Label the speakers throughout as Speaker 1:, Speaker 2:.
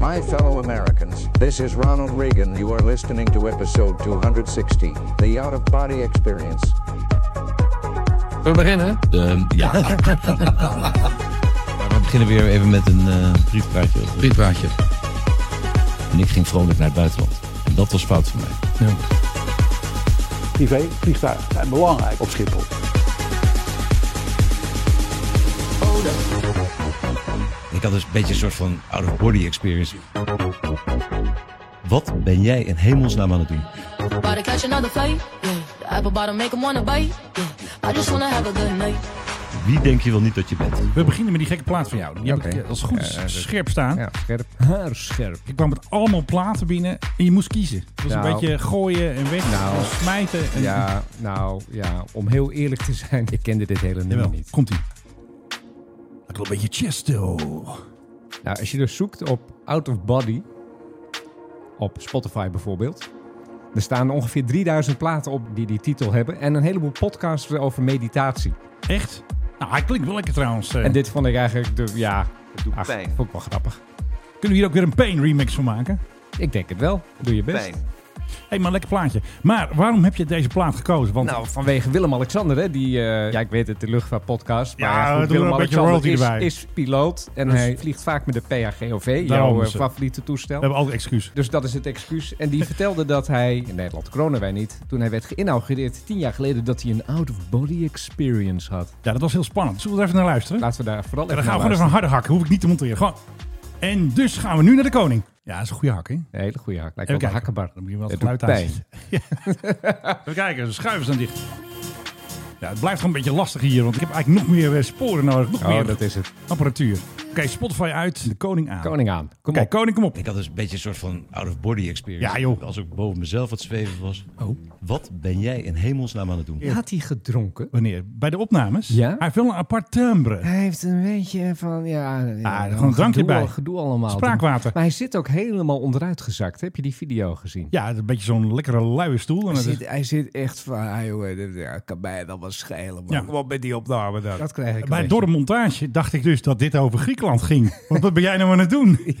Speaker 1: My fellow Americans, this is Ronald Reagan. You are listening to episode 260, The Out of Body Experience.
Speaker 2: We beginnen.
Speaker 3: Ehm, ja. Maar we beginnen weer even met een eh briefpraatje.
Speaker 2: Briefbaatje.
Speaker 3: En ik ging vrolijk naar het buitenland. En dat was fout voor mij.
Speaker 2: Ja.
Speaker 4: privé vliegtuigen zijn belangrijk op Schiphol.
Speaker 3: Ik had dus een beetje een soort van out-of-body experience. Wat ben jij in hemelsnaam aan het doen?
Speaker 5: About to catch another fight. Yeah. The apple bottom make 'em wanna bite. Yeah. I just wanna have a good night.
Speaker 3: Wie denk je wel niet dat je bent?
Speaker 6: We beginnen met die gekke plaat van jou. Die heb ik eh, als het goed is scherp staan.
Speaker 2: Ja, scherp. Haar scherp.
Speaker 6: Ik kwam met allemaal platen binnen en je moest kiezen. Het was
Speaker 2: Nou.
Speaker 6: een beetje gooien en weg,
Speaker 2: Nou.
Speaker 6: en smijten. En,
Speaker 2: Ja, nou ja, om heel eerlijk te zijn, ik kende dit hele nummer
Speaker 6: Jawel,
Speaker 2: niet.
Speaker 6: komt ie. Ik wil een beetje chesto.
Speaker 2: Nou, als je dus zoekt op Out of Body, op Spotify bijvoorbeeld, er staan ongeveer 3000 platen op die die titel hebben en een heleboel podcasts over meditatie.
Speaker 6: Echt? Nou, hij klinkt wel lekker trouwens. eh.
Speaker 2: En dit vond ik eigenlijk, de, ja, ach, vond ik wel grappig.
Speaker 6: Kunnen we hier ook weer een pain remix van maken?
Speaker 2: Ik denk het wel, doe je best.
Speaker 6: Hé, maar een lekker plaatje. Maar waarom heb je deze plaat gekozen? Want
Speaker 2: Nou, vanwege Willem-Alexander, hè, die, eh, ja, ik weet het, de luchtvaartpodcast. Maar
Speaker 6: Ja,
Speaker 2: ja, goed,
Speaker 6: we doen er een
Speaker 2: Willem-Alexander
Speaker 6: beetje royalty
Speaker 2: is, is piloot en
Speaker 6: Nee.
Speaker 2: hij vliegt vaak met de PHGOV,
Speaker 6: Daarom
Speaker 2: jouw eh,
Speaker 6: is het.
Speaker 2: favoriete toestel.
Speaker 6: we hebben altijd excuus.
Speaker 2: Dus dat is het excuus. En die vertelde dat hij, in Nederland corona wij niet, toen hij werd geïnaugureerd tien jaar geleden, dat hij een out-of-body experience had.
Speaker 6: Ja, dat was heel spannend. Zullen we er even naar luisteren?
Speaker 2: Laten we daar vooral
Speaker 6: Ja,
Speaker 2: even
Speaker 6: dan gaan we
Speaker 2: Nou, naar
Speaker 6: gewoon even een harde hak. Hoef ik niet te monteren. Gewoon. En dus gaan we nu naar de koning. Ja, dat is een goede hak, hè? Even
Speaker 2: luisteren. Een hele goede hak. Lijkt wel een
Speaker 6: kijken.
Speaker 2: hakkenbar.
Speaker 6: Dan moet je wel het
Speaker 2: Het doet
Speaker 6: geluid aan
Speaker 2: pijn.
Speaker 6: zetten. Ja. Even kijken, de schuiven staan dicht. Ja, het blijft gewoon een beetje lastig hier, want ik heb eigenlijk nog meer eh, sporen nodig. Nog
Speaker 2: Oh,
Speaker 6: meer
Speaker 2: dat is het.
Speaker 6: apparatuur. Oké, Spotify uit, de koning aan.
Speaker 2: Koning aan. Kom
Speaker 6: Oké,
Speaker 2: op. dus-
Speaker 6: koning, kom op.
Speaker 3: Ik had dus een beetje een soort van out-of-body experience.
Speaker 6: Ja, joh.
Speaker 3: Als ik boven mezelf wat zweven was.
Speaker 2: Oh.
Speaker 3: Wat ben jij in hemelsnaam aan het doen?
Speaker 2: Had hij gedronken?
Speaker 6: Wanneer? Bij de opnames?
Speaker 2: Ja.
Speaker 6: Hij heeft wel een apart timbre.
Speaker 2: Hij heeft een beetje van, ja...
Speaker 6: Ah, gewoon een drankje
Speaker 2: gedoe,
Speaker 6: bij.
Speaker 2: Gedoe allemaal.
Speaker 6: Spraakwater.
Speaker 2: Maar hij zit ook helemaal onderuit gezakt. Heb je die video gezien?
Speaker 6: Ja, het is een beetje zo'n lekkere luie stoel. En
Speaker 2: Hij
Speaker 6: het is-
Speaker 2: zit, hij zit echt van, ah, jongen, dit- ja, kan mij dan wel schelen. man.
Speaker 6: Ja.
Speaker 2: Kom op met die opname dan. Dat krijg ik
Speaker 6: Bij,
Speaker 2: een
Speaker 6: door de
Speaker 2: beetje.
Speaker 6: montage dacht ik dus dat dit over Griekenland ging. Want wat ben jij nou aan het doen? Oké,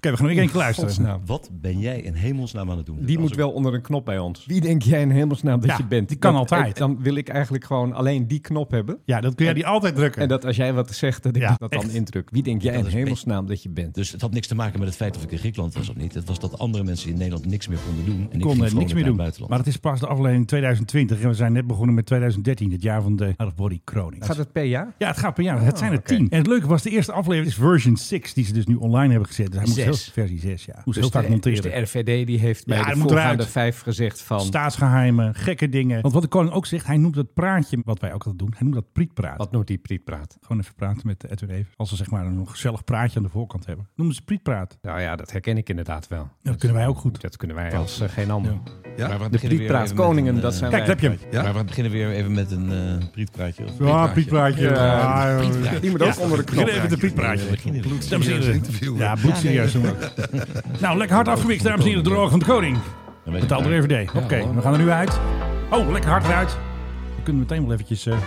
Speaker 2: Ja,
Speaker 6: we gaan nog één keer luisteren.
Speaker 2: godsnaam.
Speaker 3: Wat ben jij in hemelsnaam aan het doen?
Speaker 2: Die
Speaker 3: Als
Speaker 2: moet
Speaker 3: ik-
Speaker 2: wel onder een knop bij ons. Wie denk jij in hemelsnaam dat
Speaker 6: Ja,
Speaker 2: je bent?
Speaker 6: die kan
Speaker 2: Dat-
Speaker 6: altijd.
Speaker 2: Dan wil ik eigenlijk gewoon alleen die knop hebben.
Speaker 6: Ja, dat kun jij die altijd drukken.
Speaker 2: En dat als jij wat zegt, dat ik
Speaker 6: Ja,
Speaker 2: dat dan
Speaker 6: echt.
Speaker 2: indruk. Wie denk jij
Speaker 3: Dat
Speaker 2: in
Speaker 3: is een
Speaker 2: hemelsnaam dat je bent?
Speaker 3: Dus het had niks te maken met het feit of ik in Griekenland was of niet. Het was dat andere mensen in Nederland niks meer konden doen. En ik
Speaker 6: kon
Speaker 3: ging
Speaker 6: er niks
Speaker 3: vrolijk
Speaker 6: meer
Speaker 3: naar
Speaker 6: doen.
Speaker 3: het buitenland.
Speaker 6: Maar het is pas de aflevering 2020 en we zijn net begonnen met 2013, het jaar van de Out of Body Kroning.
Speaker 2: Gaat het per jaar?
Speaker 6: Ja, het gaat per jaar. het zijn er
Speaker 2: oké.
Speaker 6: tien. En het leuke was, de eerste aflevering is version 6, die ze dus nu online hebben gezet. Dus hij moest
Speaker 2: Zes.
Speaker 6: heel, versie 6, ja. Moest
Speaker 2: Dus
Speaker 6: heel vaak
Speaker 2: de,
Speaker 6: monteren.
Speaker 2: dus de RVD die heeft bij
Speaker 6: Ja, dat
Speaker 2: de
Speaker 6: moet
Speaker 2: voorgaande
Speaker 6: eruit.
Speaker 2: vijf gezegd van...
Speaker 6: Staatsgeheimen, gekke dingen. Want wat de koning ook zegt, hij noemt dat praatje, wat wij ook altijd doen, hij noemt dat prietpraat.
Speaker 2: wat noemt die Oh, prietpraat?
Speaker 6: Gewoon even praten met eh, Edwin even. Als ze zeg maar een gezellig praatje aan de voorkant hebben. Noemen ze prietpraat.
Speaker 2: Nou ja, dat herken ik inderdaad wel.
Speaker 6: dat kunnen wij ook goed.
Speaker 2: Dat kunnen wij als eh, geen ander.
Speaker 3: Ja? Maar we
Speaker 2: De
Speaker 3: beginnen weer
Speaker 2: prietpraat
Speaker 3: even met
Speaker 2: koningen,
Speaker 3: een,
Speaker 2: dat
Speaker 3: eh,
Speaker 2: zijn
Speaker 6: Kijk,
Speaker 2: wij.
Speaker 6: daar heb je hem.
Speaker 3: Maar we beginnen weer even met een eh prietpraatje. of
Speaker 6: Ja,
Speaker 3: prietpraatje.
Speaker 6: prietpraatje.
Speaker 2: Ja,
Speaker 6: Ja,
Speaker 3: prietpraatje.
Speaker 2: Die moet ook onder de knop.
Speaker 6: Begin even de
Speaker 3: We
Speaker 6: prietpraatje.
Speaker 3: beginnen weer.
Speaker 6: Dames en heren. Ja, bloedserieus doen we ook. Nou, lekker hard afgewikt, dames en heren. Door de ogen van de koning.
Speaker 3: Dan weet ik
Speaker 6: Betaald
Speaker 3: daar.
Speaker 6: door RVD. Oké, we gaan er nu uit. Oh, lekker hard eruit. We kunnen meteen wel eventjes... eh,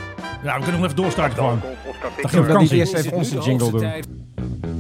Speaker 6: ja, we kunnen wel even doorstarten gewoon. Dan gaan
Speaker 2: Zullen
Speaker 6: we
Speaker 2: we dan niet
Speaker 6: vakantie.
Speaker 2: eerst even onze jingle doen?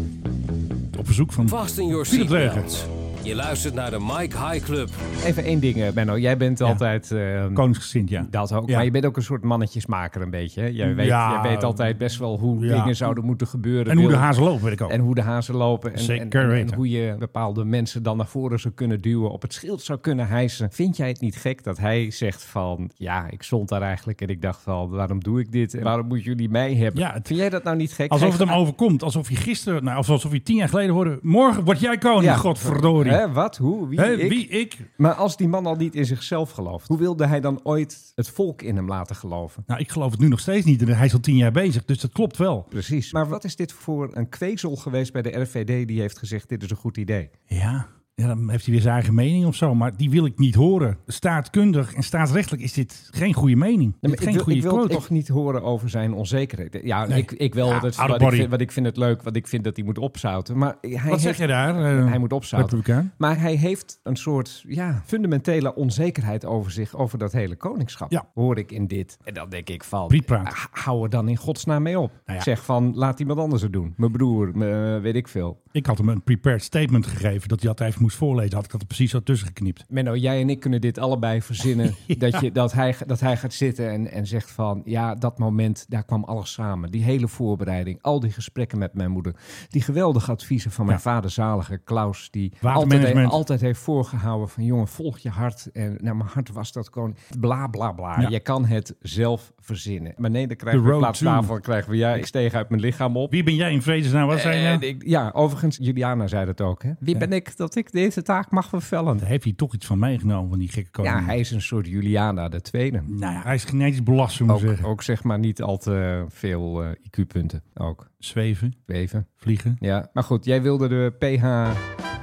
Speaker 6: Op verzoek van
Speaker 7: Vast in your
Speaker 6: Philip Dreugen.
Speaker 7: seatbelts. Je luistert naar de Mike High Club.
Speaker 2: Even één ding, eh, Benno. Jij bent altijd... eh,
Speaker 6: Koningsgezind, ja.
Speaker 2: Dat ook.
Speaker 6: Ja.
Speaker 2: Maar je bent ook een soort mannetjesmaker een beetje. Hè? Jij, weet,
Speaker 6: Ja.
Speaker 2: jij weet altijd best wel hoe
Speaker 6: Ja.
Speaker 2: dingen zouden moeten gebeuren.
Speaker 6: En hoe de
Speaker 2: wil-
Speaker 6: hazen lopen, weet ik ook.
Speaker 2: En hoe de hazen lopen. En,
Speaker 6: Zeker
Speaker 2: en- en- en
Speaker 6: weten.
Speaker 2: hoe je bepaalde mensen dan naar voren zou kunnen duwen. Op het schild zou kunnen hijsen. Vind jij het niet gek dat hij zegt van... Ja, ik stond daar eigenlijk en ik dacht van... Waarom doe ik dit? En waarom moeten jullie mij hebben?
Speaker 6: Ja, het-
Speaker 2: Vind jij dat nou niet gek?
Speaker 6: Alsof
Speaker 2: Hij
Speaker 6: het hem
Speaker 2: gaat-
Speaker 6: overkomt. Alsof je gisteren, nou, of alsof je tien jaar geleden hoorde. Morgen word jij koning,
Speaker 2: Ja.
Speaker 6: godverdorie.
Speaker 2: Hè, wat? Hoe? Wie?
Speaker 6: Hè,
Speaker 2: ik?
Speaker 6: wie ik?
Speaker 2: Maar als die man al niet in zichzelf gelooft... Hoe wilde hij dan ooit het volk in hem laten geloven?
Speaker 6: Nou, ik geloof het nu nog steeds niet. En Hij is al tien jaar bezig, dus dat klopt wel.
Speaker 2: Precies. Maar wat is dit voor een kwezel geweest bij de RVD die heeft gezegd: dit is een goed idee?
Speaker 6: Ja. Ja, dan heeft hij weer zijn eigen mening of zo, maar die wil ik niet horen. Staatkundig en staatsrechtelijk is dit geen goede mening.
Speaker 2: Nee,
Speaker 6: Dit
Speaker 2: maar
Speaker 6: geen
Speaker 2: ik wil,
Speaker 6: goede
Speaker 2: ik wil
Speaker 6: quote.
Speaker 2: toch niet horen over zijn onzekerheid. Ja, ik, ik wel.
Speaker 6: Ja,
Speaker 2: dat is
Speaker 6: out of
Speaker 2: wat, ik
Speaker 6: body.
Speaker 2: vind, wat ik vind het leuk, wat ik vind dat hij moet opzouten. Maar hij,
Speaker 6: Wat
Speaker 2: heeft,
Speaker 6: zeg je daar? eh,
Speaker 2: hij moet opzouten.
Speaker 6: Republikein?
Speaker 2: Maar hij heeft een soort ja, fundamentele onzekerheid over zich, over dat hele koningschap.
Speaker 6: Ja.
Speaker 2: Hoor ik in dit. En dan denk ik van,
Speaker 6: Prietpraat.
Speaker 2: h- hou er dan in godsnaam mee op.
Speaker 6: Nou ja.
Speaker 2: Zeg van, laat iemand anders het doen. Mijn broer, me- weet ik veel.
Speaker 6: Ik had hem een prepared statement gegeven dat hij dat even moest voorlezen. Had ik dat er precies zo tussen geknipt.
Speaker 2: Menno, jij en ik kunnen dit allebei verzinnen. dat, je, dat, hij, dat hij gaat zitten en, en zegt van... ja, dat moment, daar kwam alles samen. Die hele voorbereiding, al die gesprekken met mijn moeder. Die geweldige adviezen van mijn
Speaker 6: Ja.
Speaker 2: vader zalige Klaus... die altijd,
Speaker 6: Watermanagement.
Speaker 2: altijd heeft voorgehouden van... jongen, volg je hart. En nou, mijn hart was dat koning. Bla, bla, bla.
Speaker 6: Ja.
Speaker 2: Je kan het zelf verzinnen. Maar nee, dan krijgen
Speaker 6: The
Speaker 2: we in
Speaker 6: road
Speaker 2: plaats
Speaker 6: to.
Speaker 2: daarvan... krijgen we, ja, ik steeg uit mijn lichaam op.
Speaker 6: Wie ben jij in vredesnaam? Wat zijn
Speaker 2: En
Speaker 6: nou?
Speaker 2: ik- ja, overigens, Juliana zei dat ook. Hè? Wie ben ik dat ik deze taak mag vervellen?
Speaker 6: Daar heeft hij toch iets van meegenomen van die gekke koning.
Speaker 2: Ja, hij is een soort Juliana de Tweede.
Speaker 6: Nou ja, hij is genetisch belast, zullen we
Speaker 2: Ook,
Speaker 6: zeggen.
Speaker 2: ook zeg maar niet al te veel eh, IQ-punten. Ook
Speaker 6: Zweven,
Speaker 2: even.
Speaker 6: vliegen.
Speaker 2: Ja, maar goed, jij wilde de PH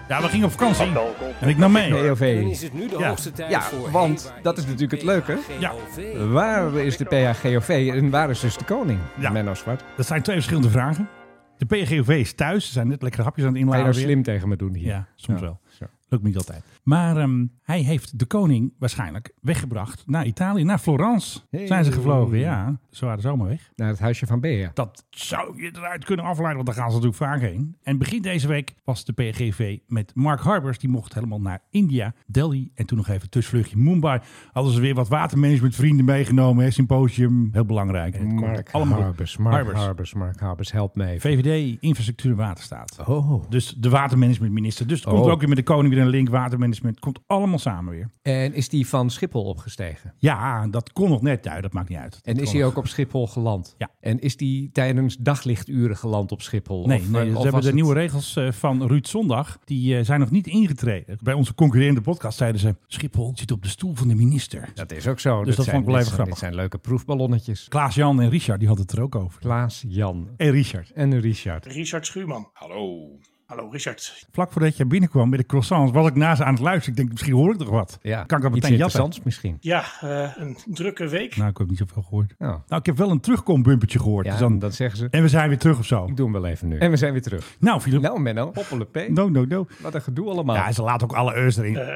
Speaker 6: Ja, we gingen op vakantie. En ik nam mee.
Speaker 7: Dan
Speaker 2: POV.
Speaker 7: is het nu de
Speaker 6: Ja.
Speaker 7: hoogste tijd
Speaker 2: Ja,
Speaker 7: voor...
Speaker 2: want
Speaker 7: Hey, waar
Speaker 2: dat is natuurlijk het leuke.
Speaker 6: Ja.
Speaker 7: PHGOV?
Speaker 2: Waar is de PHGOV en waar is dus de koning?
Speaker 6: Ja.
Speaker 2: Menno Zwart.
Speaker 6: Dat zijn twee verschillende vragen. De PGOV is thuis. Ze zijn net lekkere hapjes aan het
Speaker 2: Ga je
Speaker 6: inladen.
Speaker 2: nou
Speaker 6: weer.
Speaker 2: slim tegen me doen hier?
Speaker 6: Ja, soms
Speaker 2: Ja,
Speaker 6: wel.
Speaker 2: zo.
Speaker 6: Lukt me niet altijd. Maar ehm, hij heeft de koning waarschijnlijk weggebracht naar Italië, naar Florence.
Speaker 2: Hey.
Speaker 6: Zijn ze gevlogen, ja. Ze waren zomaar weg.
Speaker 2: Naar het huisje van Bea.
Speaker 6: Dat zou je eruit kunnen afleiden, want daar gaan ze natuurlijk vaak heen. En begin deze week was de PGV met Mark Harbers. Die mocht helemaal naar India, Delhi en toen nog even tussenvluchtje Mumbai. Hadden ze weer wat watermanagementvrienden meegenomen, hè, symposium. Heel belangrijk. Het komt
Speaker 2: Mark
Speaker 6: allemaal goed.
Speaker 2: Harbers, Mark Harbers,
Speaker 6: Harbers.
Speaker 2: Mark Harbers, help me even.
Speaker 6: VVD, infrastructuur en waterstaat.
Speaker 2: Oh.
Speaker 6: Dus de watermanagementminister. Dus er komt
Speaker 2: Oh.
Speaker 6: ook weer met de koning weer een link. Watermanagement komt allemaal samen weer.
Speaker 2: En is die van Schiphol opgestegen?
Speaker 6: Ja, dat kon nog net. Ja, dat maakt niet uit.
Speaker 2: En
Speaker 6: Dat
Speaker 2: is
Speaker 6: kon
Speaker 2: hij
Speaker 6: nog.
Speaker 2: ook op Schiphol geland?
Speaker 6: Ja.
Speaker 2: En is die tijdens daglichturen geland op Schiphol?
Speaker 6: Nee,
Speaker 2: Of- eh,
Speaker 6: nee,
Speaker 2: of
Speaker 6: ze hebben
Speaker 2: was
Speaker 6: de
Speaker 2: het-
Speaker 6: nieuwe regels eh, van Ruud Zondag. Die eh, zijn nog niet ingetreden. Bij onze concurrerende podcast zeiden ze... Schiphol zit op de stoel van de minister.
Speaker 2: Dat is ook zo. Dus
Speaker 6: dat vond ik wel even
Speaker 2: Dit
Speaker 6: grappig.
Speaker 2: zijn leuke proefballonnetjes.
Speaker 6: Klaas-Jan en Richard, die hadden het er ook over.
Speaker 2: Klaas, Jan
Speaker 6: En Richard.
Speaker 2: en Richard.
Speaker 8: Richard Schuurman. Hallo. Hallo Richard.
Speaker 6: Vlak voordat jij binnenkwam met de croissants... was ik naast aan het luisteren. Ik denk, misschien hoor ik nog wat.
Speaker 2: Ja,
Speaker 6: Kan ik dat
Speaker 2: iets
Speaker 6: meteen jatten?
Speaker 2: interessants misschien.
Speaker 8: Ja, eh, een drukke week.
Speaker 6: Nou, ik heb niet zoveel gehoord.
Speaker 2: Nou,
Speaker 6: Nou, ik heb wel een terugkombumpertje gehoord.
Speaker 2: ja,
Speaker 6: dus dan...
Speaker 2: dat zeggen ze.
Speaker 6: En we zijn weer terug of zo.
Speaker 2: Ik doe hem wel even nu. En we zijn weer terug.
Speaker 6: Nou, Filip.
Speaker 2: Nou, Menno, hoppelen P.
Speaker 6: No, no, no.
Speaker 2: Wat een gedoe allemaal.
Speaker 6: Ja, ze laten ook alle eurs erin.
Speaker 2: Eh,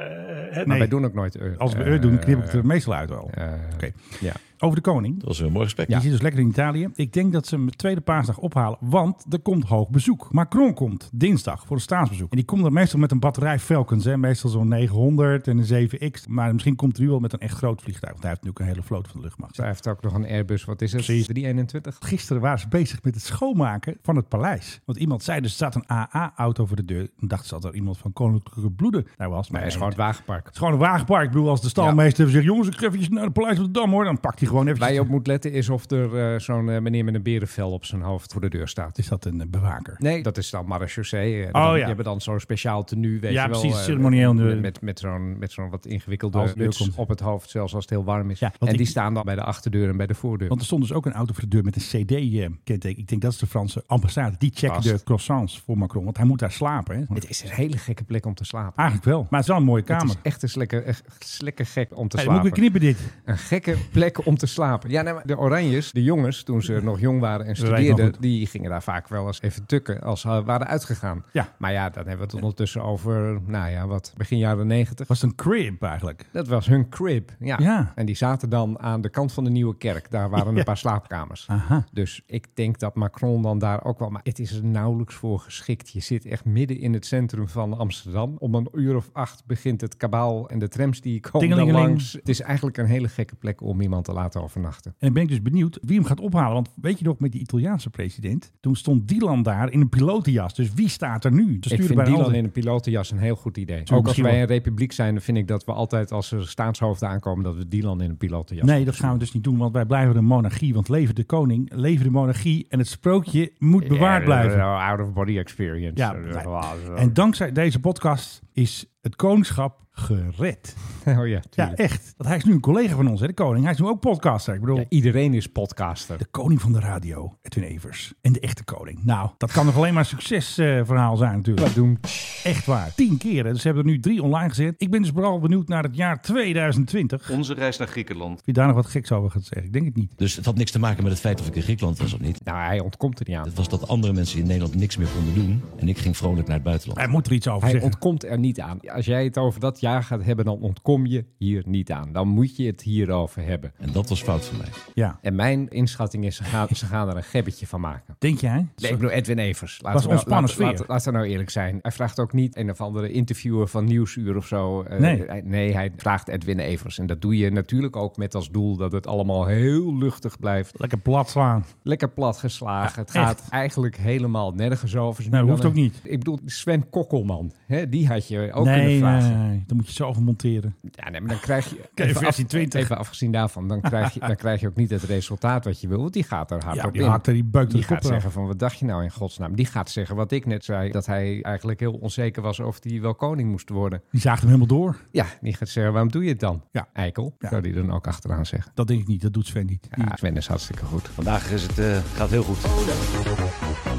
Speaker 2: Maar
Speaker 6: nee.
Speaker 2: wij doen ook nooit... eh,
Speaker 6: Als we
Speaker 2: eh,
Speaker 6: eur doen, dan knip ik het er meestal uit wel.
Speaker 2: eh,
Speaker 6: Oké.
Speaker 2: ja.
Speaker 6: Over de koning.
Speaker 3: Dat was een mooi gesprek.
Speaker 6: Die zit dus lekker in Italië. Ik denk dat ze hem de tweede paasdag ophalen, want er komt hoog bezoek. Macron komt dinsdag voor een staatsbezoek. En die komt dan meestal met een batterij Falcons. Hè? Meestal zo'n 900 en een 7X. Maar misschien komt hij wel met een echt groot vliegtuig. Want hij heeft natuurlijk een hele vloot van de luchtmacht.
Speaker 2: Hij heeft ook nog een Airbus. Wat is het?
Speaker 6: Precies.
Speaker 2: 321.
Speaker 6: Gisteren waren ze bezig met het schoonmaken van het paleis. Want iemand zei dus, er staat een AA-auto voor de deur. En dachten ze dat er iemand van koninklijke bloeden daar was. Maar
Speaker 2: Hij is
Speaker 6: nee,
Speaker 2: gewoon het wagenpark.
Speaker 6: Het is gewoon een wagenpark. Ik bedoel, als de stalmeester zegt... jongens, ik ga eventjes naar de Paleis van de Dam, hoor. Dan pakt hij gewoon
Speaker 2: Waar
Speaker 6: eventjes...
Speaker 2: je op moet letten is of er eh, zo'n eh, meneer met een berenvel op zijn hoofd voor de deur staat.
Speaker 6: Is dat een eh, bewaker?
Speaker 2: Nee, dat is dan marechaussee. Oh,
Speaker 6: ja.
Speaker 2: Die hebben dan zo'n speciaal tenue, weet
Speaker 6: Ja,
Speaker 2: je wel.
Speaker 6: precies,
Speaker 2: eh,
Speaker 6: ceremonieel.
Speaker 2: Met, met, met zo'n met zo'n wat
Speaker 6: Als
Speaker 2: ingewikkelde
Speaker 6: het
Speaker 2: muts
Speaker 6: binnenkomt.
Speaker 2: op het hoofd, zelfs als het heel warm is.
Speaker 6: Ja,
Speaker 2: en
Speaker 6: want
Speaker 2: die
Speaker 6: ik-
Speaker 2: staan dan bij de achterdeur en bij de voordeur.
Speaker 6: Want er stond dus ook een auto voor de deur met een CD-kenteken. Ik denk dat is de Franse ambassade. Die checkt
Speaker 2: Vast.
Speaker 6: de croissants voor Macron. Want hij moet daar slapen, hè?
Speaker 2: het is een hele gekke plek om te slapen.
Speaker 6: Eigenlijk wel. Maar het is wel een mooie kamer.
Speaker 2: Het is echt een slikker, echt slikker gek om te
Speaker 6: Hey, dan moet ik
Speaker 2: slapen.
Speaker 6: weer knippen dit.
Speaker 2: Een gekke plek om te slapen. Ja, nee, maar de Oranjes, de jongens, toen ze nog jong waren en
Speaker 6: weten nog
Speaker 2: studeerden,
Speaker 6: goed.
Speaker 2: die gingen daar vaak wel eens even tukken als ze waren uitgegaan.
Speaker 6: Ja.
Speaker 2: Maar ja, dan hebben we het ondertussen over, nou ja, wat, begin jaren negentig.
Speaker 6: Was het een crib eigenlijk?
Speaker 2: Dat was hun crib, ja.
Speaker 6: Ja.
Speaker 2: En die zaten dan aan de kant van de Nieuwe Kerk. Daar waren een paar slaapkamers.
Speaker 6: Aha.
Speaker 2: Dus ik denk dat Macron dan daar ook wel... Maar het is er nauwelijks voor geschikt. Je zit echt midden in het centrum van Amsterdam. Om een uur of acht begint het kabaal en de trams die komen dan
Speaker 6: Tingelingeling.
Speaker 2: langs. Het is eigenlijk een hele gekke plek om iemand te laten overnachten.
Speaker 6: En dan ben ik dus benieuwd wie hem gaat ophalen. Want weet je nog, met die Italiaanse president... toen stond Dylan daar in een pilotenjas. Dus wie staat er nu? Ze
Speaker 2: Ik
Speaker 6: sturen
Speaker 2: vind
Speaker 6: bijna
Speaker 2: Dylan
Speaker 6: altijd-
Speaker 2: in een pilotenjas een heel goed idee.
Speaker 6: Zo,
Speaker 2: Ook als
Speaker 6: misschien
Speaker 2: wij
Speaker 6: wel.
Speaker 2: een republiek zijn, dan vind ik dat we altijd als er staatshoofden aankomen, dat we Dylan in een pilotenjas
Speaker 6: Nee, dat gaan we dus niet doen, want wij blijven een monarchie. Want leven de koning, leven de monarchie. En het sprookje moet bewaard
Speaker 2: Ja,
Speaker 6: blijven.
Speaker 2: Out of body experience.
Speaker 6: Ja,
Speaker 2: Eh,
Speaker 6: En dankzij deze podcast is het koningschap gered.
Speaker 2: Oh ja,
Speaker 6: Ja,
Speaker 2: tuurlijk.
Speaker 6: echt. Want hij is nu een collega van ons, hè, de koning. Hij is nu ook podcaster. Ik bedoel,
Speaker 2: Ja, iedereen is podcaster.
Speaker 6: de koning van de radio, Edwin Evers. En de echte koning. Nou, dat kan nog alleen maar een succesverhaal zijn natuurlijk.
Speaker 2: Doen.
Speaker 6: Echt waar. Tien keren. Dus ze hebben er nu drie online gezet. Ik ben dus vooral benieuwd naar het jaar 2020. Of
Speaker 9: Onze reis naar Griekenland.
Speaker 6: je daar nog wat geks over gaat zeggen. Ik denk het niet.
Speaker 3: Dus het had niks te maken met het feit of ik in Griekenland was of niet.
Speaker 2: Nou, hij ontkomt er niet aan.
Speaker 3: Het was dat andere mensen in Nederland niks meer konden doen. En ik ging vrolijk naar het buitenland.
Speaker 6: Hij moet er iets over
Speaker 2: Hij
Speaker 6: zeggen.
Speaker 2: ontkomt er niet aan. Als jij het over dat jaar gaat hebben, dan ontkom je hier niet aan. Dan moet je het hierover hebben.
Speaker 3: En dat was fout van mij.
Speaker 6: Ja.
Speaker 2: En mijn inschatting is, ze gaan, ze gaan er een gebbetje van maken.
Speaker 6: Denk jij?
Speaker 2: Nee, ik bedoel Edwin Evers. Laat
Speaker 6: Was
Speaker 2: we nou-
Speaker 6: ontspannen
Speaker 2: laat- laat-
Speaker 6: sfeer.
Speaker 2: Laten we nou eerlijk zijn. Hij vraagt ook niet een of andere interviewer van Nieuwsuur of zo. Eh,
Speaker 6: Nee.
Speaker 2: hij- nee, hij vraagt Edwin Evers. En dat doe je natuurlijk ook met als doel dat het allemaal heel luchtig blijft.
Speaker 6: Lekker plat slaan.
Speaker 2: Lekker plat geslagen.
Speaker 6: Ja,
Speaker 2: het gaat
Speaker 6: echt.
Speaker 2: eigenlijk helemaal nergens over.
Speaker 6: Nee,
Speaker 2: Nu
Speaker 6: hoeft
Speaker 2: dan
Speaker 6: ook
Speaker 2: een-
Speaker 6: niet.
Speaker 2: Ik bedoel, Sven Kokkelman. Hè, die had je ook kunnen
Speaker 6: nee, eh,
Speaker 2: vragen.
Speaker 6: nee, dan moet je zelf monteren.
Speaker 2: Ja, nee, maar dan krijg je...
Speaker 6: je versie 20.
Speaker 2: Even afgezien daarvan, dan krijg, je, dan krijg je ook niet het resultaat wat je wil. Want die gaat er hard
Speaker 6: Ja,
Speaker 2: op
Speaker 6: die
Speaker 2: in.
Speaker 6: hakt er- die beukt er
Speaker 2: Die
Speaker 6: de kop
Speaker 2: gaat
Speaker 6: eraf.
Speaker 2: zeggen van, wat dacht je nou in godsnaam? Die gaat zeggen wat ik net zei, dat hij eigenlijk heel onzeker was of hij wel koning moest worden.
Speaker 6: Die zaagt hem helemaal door.
Speaker 2: Ja, die gaat zeggen, waarom doe je het dan?
Speaker 6: Ja.
Speaker 2: Eikel,
Speaker 6: Ja.
Speaker 2: zou die dan ook achteraan zeggen.
Speaker 6: Dat denk ik niet. Dat doet Sven niet. Die-
Speaker 2: Ja, Sven is hartstikke goed.
Speaker 3: Vandaag is het, eh, gaat heel goed.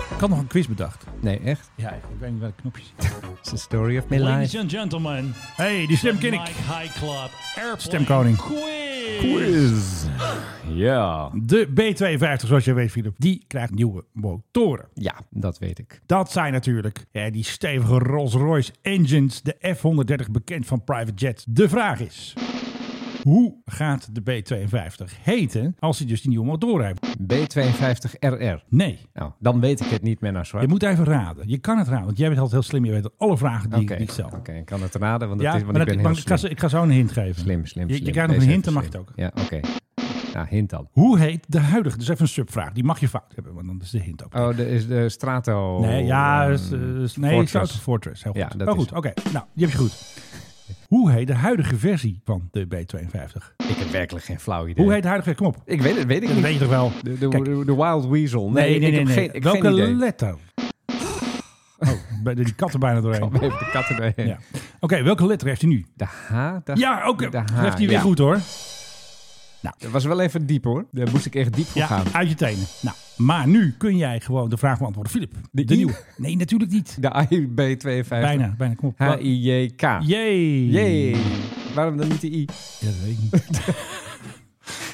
Speaker 6: Ik had nog een quiz bedacht.
Speaker 2: Nee, echt.
Speaker 6: Ja, ik weet niet welke knopjes.
Speaker 2: It's the story of my life.
Speaker 10: and gentlemen,
Speaker 6: hey, die stem ken ik.
Speaker 10: High Club
Speaker 6: Stemkoning.
Speaker 2: Ja.
Speaker 6: De B52, zoals je weet, Philip, die krijgt nieuwe motoren.
Speaker 2: Ja, dat weet ik.
Speaker 6: Dat zijn natuurlijk hè, die stevige Rolls-Royce engines, de F-130, bekend van private jets. De vraag is, hoe gaat de B-52 heten als hij dus die nieuwe motoren heeft?
Speaker 2: B52RR.
Speaker 6: Nee,
Speaker 2: Nou, dan weet ik het niet meer naar
Speaker 6: je
Speaker 2: zwart.
Speaker 6: moet even raden. Je kan het raden, want jij bent altijd heel slim. Je weet alle vragen die,
Speaker 2: Oké,
Speaker 6: die ik stel.
Speaker 2: oké, ik kan het raden, want,
Speaker 6: Ja,
Speaker 2: het is,
Speaker 6: maar
Speaker 2: want
Speaker 6: dat-
Speaker 2: ik ben heel
Speaker 6: maar ik,
Speaker 2: slim.
Speaker 6: ga, zo- ik ga zo een hint geven.
Speaker 2: Slim, slim,
Speaker 6: Je-
Speaker 2: slim.
Speaker 6: Je krijgt nog
Speaker 2: Deze
Speaker 6: een hint, dan mag
Speaker 2: even
Speaker 6: je het ook.
Speaker 2: slim. Ja, oké. Nou, hint dan.
Speaker 6: Hoe heet de huidige? Dus even een subvraag. Die mag je fout hebben, want dan is de hint ook.
Speaker 2: Oh, de, is de Strato...
Speaker 6: nee, ja,
Speaker 2: ehm,
Speaker 6: is, eh, is- nee,
Speaker 2: Fortress.
Speaker 6: South Fortress. Heel goed.
Speaker 2: Ja, dat
Speaker 6: oh,
Speaker 2: is
Speaker 6: goed. Oké, nou, die heb je goed. Hoe heet de huidige versie van de B-52?
Speaker 2: Ik heb werkelijk geen flauw idee.
Speaker 6: Hoe heet de huidige? Kom op.
Speaker 2: Ik weet het, weet ik
Speaker 6: Dat
Speaker 2: niet.
Speaker 6: weet je toch wel?
Speaker 2: De, de,
Speaker 6: Kijk.
Speaker 2: de- de Wild Weasel.
Speaker 6: Nee,
Speaker 2: Nee,
Speaker 6: nee,
Speaker 2: ik
Speaker 6: nee.
Speaker 2: heb
Speaker 6: nee.
Speaker 2: geen, ik heb
Speaker 6: Welke
Speaker 2: geen idee.
Speaker 6: letter? Oh, bij de- die katten bijna doorheen.
Speaker 2: Kom even Oh, de katten erheen.
Speaker 6: Ja. Oké, welke letter heeft hij nu?
Speaker 2: De H? De,
Speaker 6: Ja, oké.
Speaker 2: De
Speaker 6: Dat
Speaker 2: H,
Speaker 6: heeft hij weer
Speaker 2: ja.
Speaker 6: goed hoor.
Speaker 2: Dat was wel even diep hoor. Daar moest ik echt diep voor
Speaker 6: Ja,
Speaker 2: gaan.
Speaker 6: uit je tenen. Nou, maar nu kun jij gewoon de vraag beantwoorden. Filip, de,
Speaker 2: I?
Speaker 6: nieuwe. Nee, natuurlijk niet.
Speaker 2: De IB52.
Speaker 6: Bijna, bijna. Kom op.
Speaker 2: H-I-J-K.
Speaker 6: Jee.
Speaker 2: Jee. Waarom dan niet de I?
Speaker 6: Ja, dat weet ik niet.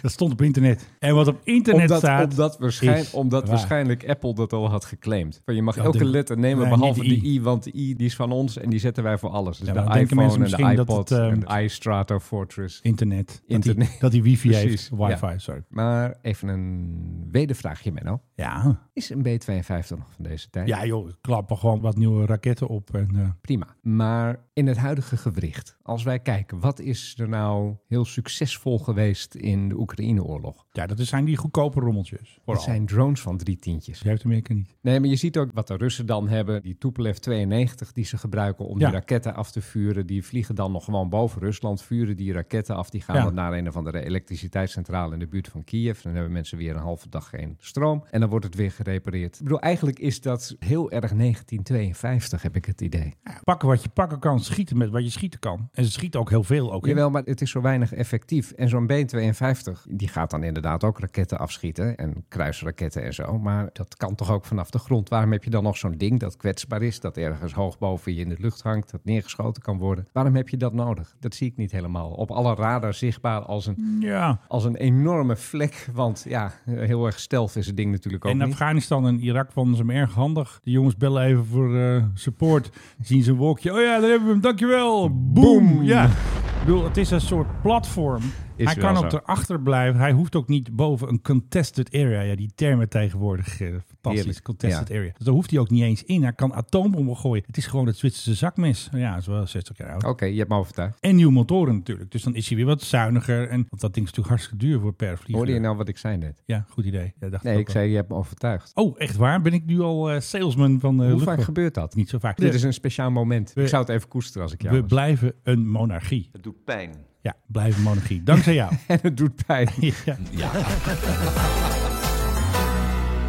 Speaker 6: dat stond op internet. En wat op internet
Speaker 2: Omdat,
Speaker 6: staat...
Speaker 2: omdat, waarschijn,
Speaker 6: is
Speaker 2: omdat
Speaker 6: waar.
Speaker 2: waarschijnlijk Apple dat al had geclaimd. Van, je mag
Speaker 6: Dat
Speaker 2: elke
Speaker 6: denk-
Speaker 2: letter nemen
Speaker 6: Nee,
Speaker 2: behalve
Speaker 6: niet de
Speaker 2: de I. want de I die is van ons en die zetten wij voor alles. Dus
Speaker 6: Ja, maar
Speaker 2: de
Speaker 6: dan denken mensen
Speaker 2: iPhone en de
Speaker 6: misschien dat
Speaker 2: iPod
Speaker 6: het, ehm,
Speaker 2: en de iStrato Fortress.
Speaker 6: Internet. Dat, die,
Speaker 2: Internet.
Speaker 6: dat die wifi
Speaker 2: Precies,
Speaker 6: heeft. Wifi,
Speaker 2: ja.
Speaker 6: sorry.
Speaker 2: Maar even een wedervraagje, Menno.
Speaker 6: Ja.
Speaker 2: Is een B52 nog van deze tijd?
Speaker 6: ja, joh. Klappen gewoon wat nieuwe raketten op. En, eh,
Speaker 2: Prima. Maar in het huidige gewricht, als wij kijken, wat is er nou heel succesvol geweest in de Oekraïne-oorlog?
Speaker 6: ja, dat zijn die goedkope rommeltjes.
Speaker 2: Dat
Speaker 6: Vooral.
Speaker 2: zijn drones van drie tientjes.
Speaker 6: Die heeft Amerika niet.
Speaker 2: Nee, maar je ziet ook wat de Russen dan hebben. Die Tupolev 92 die ze gebruiken om
Speaker 6: Ja.
Speaker 2: die raketten af te vuren. Die vliegen dan nog gewoon boven Rusland, vuren die raketten af. Die gaan
Speaker 6: Ja.
Speaker 2: dan naar een of andere elektriciteitscentrale in de buurt van Kiev. Dan hebben mensen weer een halve dag geen stroom. En dan wordt het weer gerepareerd. Ik bedoel, eigenlijk is dat heel erg 1952, heb ik het idee.
Speaker 6: Ja, pakken wat je pakken kan. Schieten met wat je schieten kan. En ze schieten ook heel veel. Ook, hè?
Speaker 2: Jawel, maar het is zo weinig effectief. En zo'n B-52, die gaat dan inderdaad ook raketten afschieten en kruisraketten en zo. Maar dat kan toch ook vanaf de grond? Waarom heb je dan nog zo'n ding dat kwetsbaar is, dat ergens hoog boven je in de lucht hangt, dat neergeschoten kan worden? Waarom heb je dat nodig? Dat zie ik niet helemaal. Op alle radar zichtbaar als een,
Speaker 6: Ja.
Speaker 2: als een enorme vlek. Want ja, heel erg stealth is het ding natuurlijk ook
Speaker 6: In
Speaker 2: niet.
Speaker 6: Afghanistan en Irak vonden ze hem erg handig. De jongens bellen even voor eh, support. Zien ze een wolkje. Oh ja, daar hebben we hem. Dankjewel. Boom. Ja. Ik bedoel, het is een soort platform.
Speaker 2: Is
Speaker 6: hij
Speaker 2: wel
Speaker 6: kan
Speaker 2: zo.
Speaker 6: ook erachter blijven. Hij hoeft ook niet boven een contested area. Ja, die termen tegenwoordig. eh, fantastisch.
Speaker 2: Heerlijk,
Speaker 6: Contested
Speaker 2: ja.
Speaker 6: area. Dus daar hoeft hij ook niet eens in. Hij kan atoombommen gooien. Het is gewoon het Zwitserse zakmes. Ja, dat is wel 60 jaar oud.
Speaker 2: Oké, je hebt me overtuigd.
Speaker 6: En nieuwe motoren natuurlijk. Dus dan is hij weer wat zuiniger. En, want dat ding is natuurlijk hartstikke duur voor per vlieger.
Speaker 2: Hoorde je nou wat ik zei net?
Speaker 6: Ja, goed idee. Ja, dacht
Speaker 2: Nee,
Speaker 6: ook
Speaker 2: ik
Speaker 6: al.
Speaker 2: zei je hebt me overtuigd.
Speaker 6: Oh, echt waar? Ben ik nu al eh, salesman van de
Speaker 2: Hoe vaak gebeurt dat?
Speaker 6: Niet zo vaak.
Speaker 2: Dit is een speciaal moment.
Speaker 6: We-
Speaker 2: ik zou het even koesteren als ik jou
Speaker 6: We
Speaker 2: was.
Speaker 6: blijven een monarchie.
Speaker 9: Het doet pijn.
Speaker 6: Ja, blijven een monarchie. Dankzij jou.
Speaker 2: En het doet pijn.
Speaker 6: ja.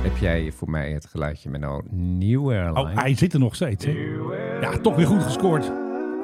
Speaker 2: Heb jij voor mij het geluidje met nou New Airline?
Speaker 6: Oh, hij zit er nog steeds. Hè? Ja, toch weer goed gescoord.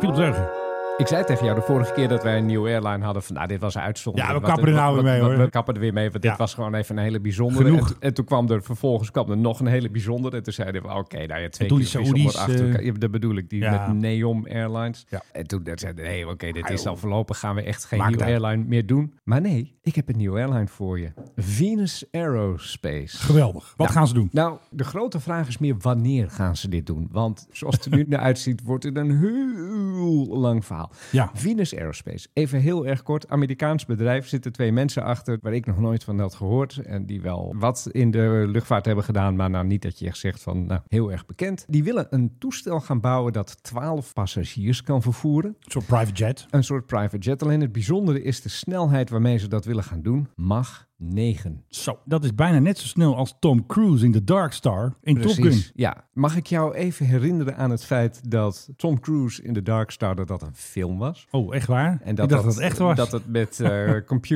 Speaker 6: Philip Dreugen.
Speaker 2: Ik zei tegen jou de vorige keer dat wij een nieuwe airline hadden. Van, nou, dit was een uitzondering.
Speaker 6: Ja, we
Speaker 2: Wat-
Speaker 6: kappen er nou
Speaker 2: wat-
Speaker 6: weer mee,
Speaker 2: wat-
Speaker 6: hoor.
Speaker 2: We kappen er weer mee, want
Speaker 6: Ja.
Speaker 2: dit was gewoon even een hele bijzondere.
Speaker 6: Genoeg.
Speaker 2: En, t- en toen kwam er vervolgens kwam er nog een hele bijzondere. En toen zeiden we, oké, nou ja, twee
Speaker 6: toen
Speaker 2: keer
Speaker 6: die
Speaker 2: bijzonder
Speaker 6: Saoedi's,
Speaker 2: achter elkaar.
Speaker 6: eh,
Speaker 2: Ja, dat bedoel ik, die
Speaker 6: ja.
Speaker 2: met Neom Airlines.
Speaker 6: Ja.
Speaker 2: En toen zeiden we, nee, oké, dit is al voorlopig. Gaan we echt geen
Speaker 6: Maakt
Speaker 2: nieuwe
Speaker 6: uit.
Speaker 2: airline meer doen. Maar nee, ik heb een nieuwe airline voor je. Venus Aerospace.
Speaker 6: Geweldig. Wat
Speaker 2: Ja.
Speaker 6: gaan ze doen?
Speaker 2: Nou, de grote vraag is meer wanneer gaan ze dit doen? Want zoals het er nu naar uitziet, wordt het een heel lang verhaal.
Speaker 6: Ja.
Speaker 2: Venus Aerospace, even heel erg kort. Amerikaans bedrijf, zitten twee mensen achter waar ik nog nooit van had gehoord. En die wel wat in de luchtvaart hebben gedaan, maar nou niet dat je echt zegt van nou, heel erg bekend. Die willen een toestel gaan bouwen dat 12 passagiers kan vervoeren.
Speaker 6: Zo'n private jet.
Speaker 2: Een soort private jet. Alleen het bijzondere is de snelheid waarmee ze dat willen gaan doen. Mag 9.
Speaker 6: Zo, dat is bijna net zo snel als Tom Cruise in The Dark Star in Top Gun.
Speaker 2: Ja. Mag ik jou even herinneren aan het feit dat Tom Cruise in The Dark Star dat dat een film was?
Speaker 6: Oh, echt waar?
Speaker 2: En
Speaker 6: ik dacht dat, het echt was.
Speaker 2: Dat het met eh,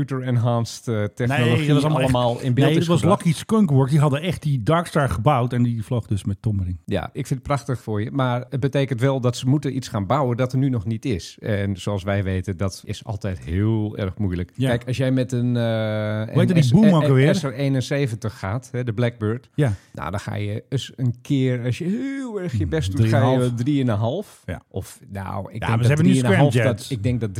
Speaker 2: computer-enhanced eh, technologie
Speaker 6: nee, dat was allemaal, echt-
Speaker 2: allemaal in beeld
Speaker 6: Nee,
Speaker 2: is
Speaker 6: dat was
Speaker 2: gebracht.
Speaker 6: Lucky Skunkworks. Die hadden echt die Dark Star gebouwd en die vloog dus met Tom erin.
Speaker 2: Ja, ik vind het prachtig voor je. Maar het betekent wel dat ze moeten iets gaan bouwen dat er nu nog niet is. En zoals wij weten, dat is altijd heel erg moeilijk.
Speaker 6: Ja.
Speaker 2: Kijk, als jij met een... eh
Speaker 6: heet
Speaker 2: een
Speaker 6: die
Speaker 2: S-
Speaker 6: boom
Speaker 2: een-
Speaker 6: ook
Speaker 2: een
Speaker 6: alweer?
Speaker 2: SR-71 gaat, hè, de Blackbird.
Speaker 6: Ja.
Speaker 2: Nou, dan ga je eens een keer, als je heel erg je best doet, ga
Speaker 6: Hmm, drieënhalf.
Speaker 2: je drieënhalf.
Speaker 6: Ja.
Speaker 2: Of nou,
Speaker 6: maar
Speaker 2: ik, denk
Speaker 6: ze
Speaker 2: dat
Speaker 6: hebben nu
Speaker 2: drieënhalf,
Speaker 6: scramjets.
Speaker 2: dat, ik denk dat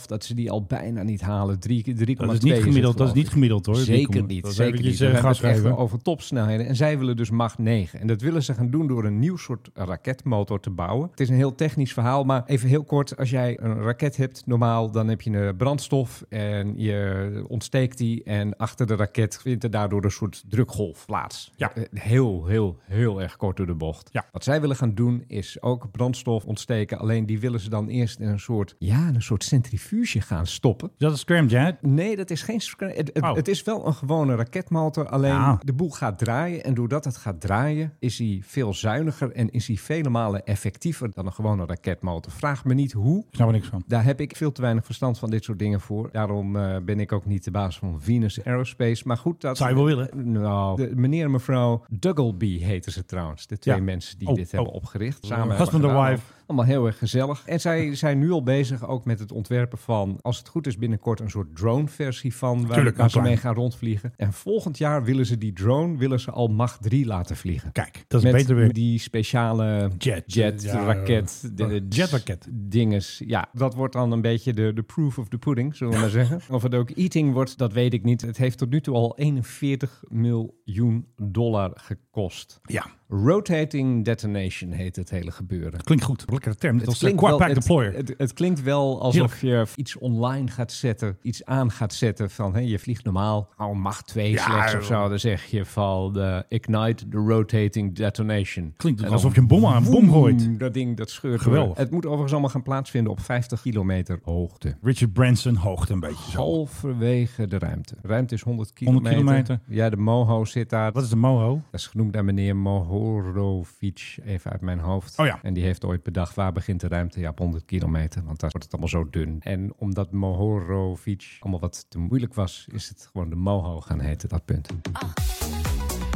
Speaker 2: 3,5 dat ze die al bijna niet halen. Drie- 3,2
Speaker 6: Dat is niet
Speaker 2: het,
Speaker 6: gemiddeld, dat is
Speaker 2: geloof ik.
Speaker 6: niet gemiddeld hoor.
Speaker 2: Zeker niet.
Speaker 6: Dat is
Speaker 2: zeker
Speaker 6: eventjes,
Speaker 2: niet. We
Speaker 6: eh,
Speaker 2: hebben
Speaker 6: gas
Speaker 2: het echt
Speaker 6: geven.
Speaker 2: over topsnelheden. En zij willen dus macht 9. En dat willen ze gaan doen door een nieuw soort raketmotor te bouwen. Het is een heel technisch verhaal, maar even heel kort. Als jij een raket hebt, normaal, dan heb je een brandstof en je ontsteekt die. En achter de raket vindt er daardoor een soort drukgolf plaats.
Speaker 6: Ja.
Speaker 2: Eh, Heel, heel, heel erg kort door de bocht.
Speaker 6: Ja.
Speaker 2: Wat zij willen gaan doen is ook brandstof ontsteken. Alleen die willen ze dan eerst in een soort, ja, in een soort centrifuge gaan stoppen.
Speaker 6: Is dat een scramjet?
Speaker 2: Nee, dat is geen. scra- Het, het,
Speaker 6: Oh.
Speaker 2: het is wel een gewone raketmotor. Alleen
Speaker 6: Ja.
Speaker 2: de boel gaat draaien. En doordat het gaat draaien, is hij veel zuiniger. En is hij vele malen effectiever dan een gewone raketmotor. Vraag me niet hoe.
Speaker 6: Ik snap er niks van.
Speaker 2: Daar heb ik veel te weinig verstand van dit soort dingen voor. Daarom eh, ben ik ook niet de baas van Venus Aerospace. Maar goed, dat.
Speaker 6: Zou je wel willen?
Speaker 2: Nou, de, meneer en mevrouw Duggleby heten ze trouwens. De twee
Speaker 6: Ja.
Speaker 2: mensen die
Speaker 6: Oh,
Speaker 2: dit
Speaker 6: oh.
Speaker 2: hebben opgericht. Samen
Speaker 6: Husband
Speaker 2: hebben
Speaker 6: and
Speaker 2: gedaan.
Speaker 6: wife.
Speaker 2: Allemaal heel erg gezellig. En zij zijn nu al bezig ook met het ontwerpen van, als het goed is, binnenkort een soort drone-versie van. Waar,
Speaker 6: Tuurlijk,
Speaker 2: waar ze
Speaker 6: een
Speaker 2: mee
Speaker 6: klein.
Speaker 2: gaan rondvliegen. En volgend jaar willen ze die drone willen ze al macht 3 laten vliegen.
Speaker 6: Kijk, dat is
Speaker 2: Met
Speaker 6: beter weer.
Speaker 2: die speciale
Speaker 6: Jet. eh,
Speaker 2: jet
Speaker 6: Ja,
Speaker 2: raket.
Speaker 6: ja.
Speaker 2: de-
Speaker 6: Jetraket.
Speaker 2: Dinges. Ja, dat wordt dan een beetje de, de proof of the pudding, zullen we maar zeggen. Of het ook eating wordt, dat weet ik niet. Het heeft tot nu toe al 41 miljoen dollar gekost.
Speaker 6: Ja,
Speaker 2: Rotating detonation heet het hele gebeuren.
Speaker 6: klinkt goed. Lekkere term. Net als de
Speaker 2: wel-
Speaker 6: Quapack
Speaker 2: het-
Speaker 6: Deployer.
Speaker 2: Het, het klinkt wel alsof je iets online gaat zetten, iets aan gaat zetten van hè, je vliegt normaal, oh, macht 2
Speaker 6: Ja,
Speaker 2: slechts of
Speaker 6: joh.
Speaker 2: zo. Dan zeg je van eh, ignite the rotating detonation.
Speaker 6: Klinkt dus
Speaker 2: En dan
Speaker 6: alsof je een bom aan een bom gooit.
Speaker 2: Oeh, Dat ding, dat scheurt
Speaker 6: Geweldig.
Speaker 2: door. Het moet overigens allemaal gaan plaatsvinden op 50 kilometer hoogte.
Speaker 6: Richard Branson hoogt een beetje zo.
Speaker 2: Halverwege de ruimte. Ruimte is 100 kilometer.
Speaker 6: 100 kilometer.
Speaker 2: Ja, de Moho zit daar.
Speaker 6: Wat is de moho?
Speaker 2: Dat is genoemd naar meneer Mohorovic, even uit mijn hoofd.
Speaker 6: Oh ja.
Speaker 2: En die heeft ooit bedacht, waar begint de ruimte? Ja, op 100 kilometer, want daar wordt het allemaal zo dun. En omdat Mohorovic allemaal wat te moeilijk was, is het gewoon de Moho gaan heten, dat punt.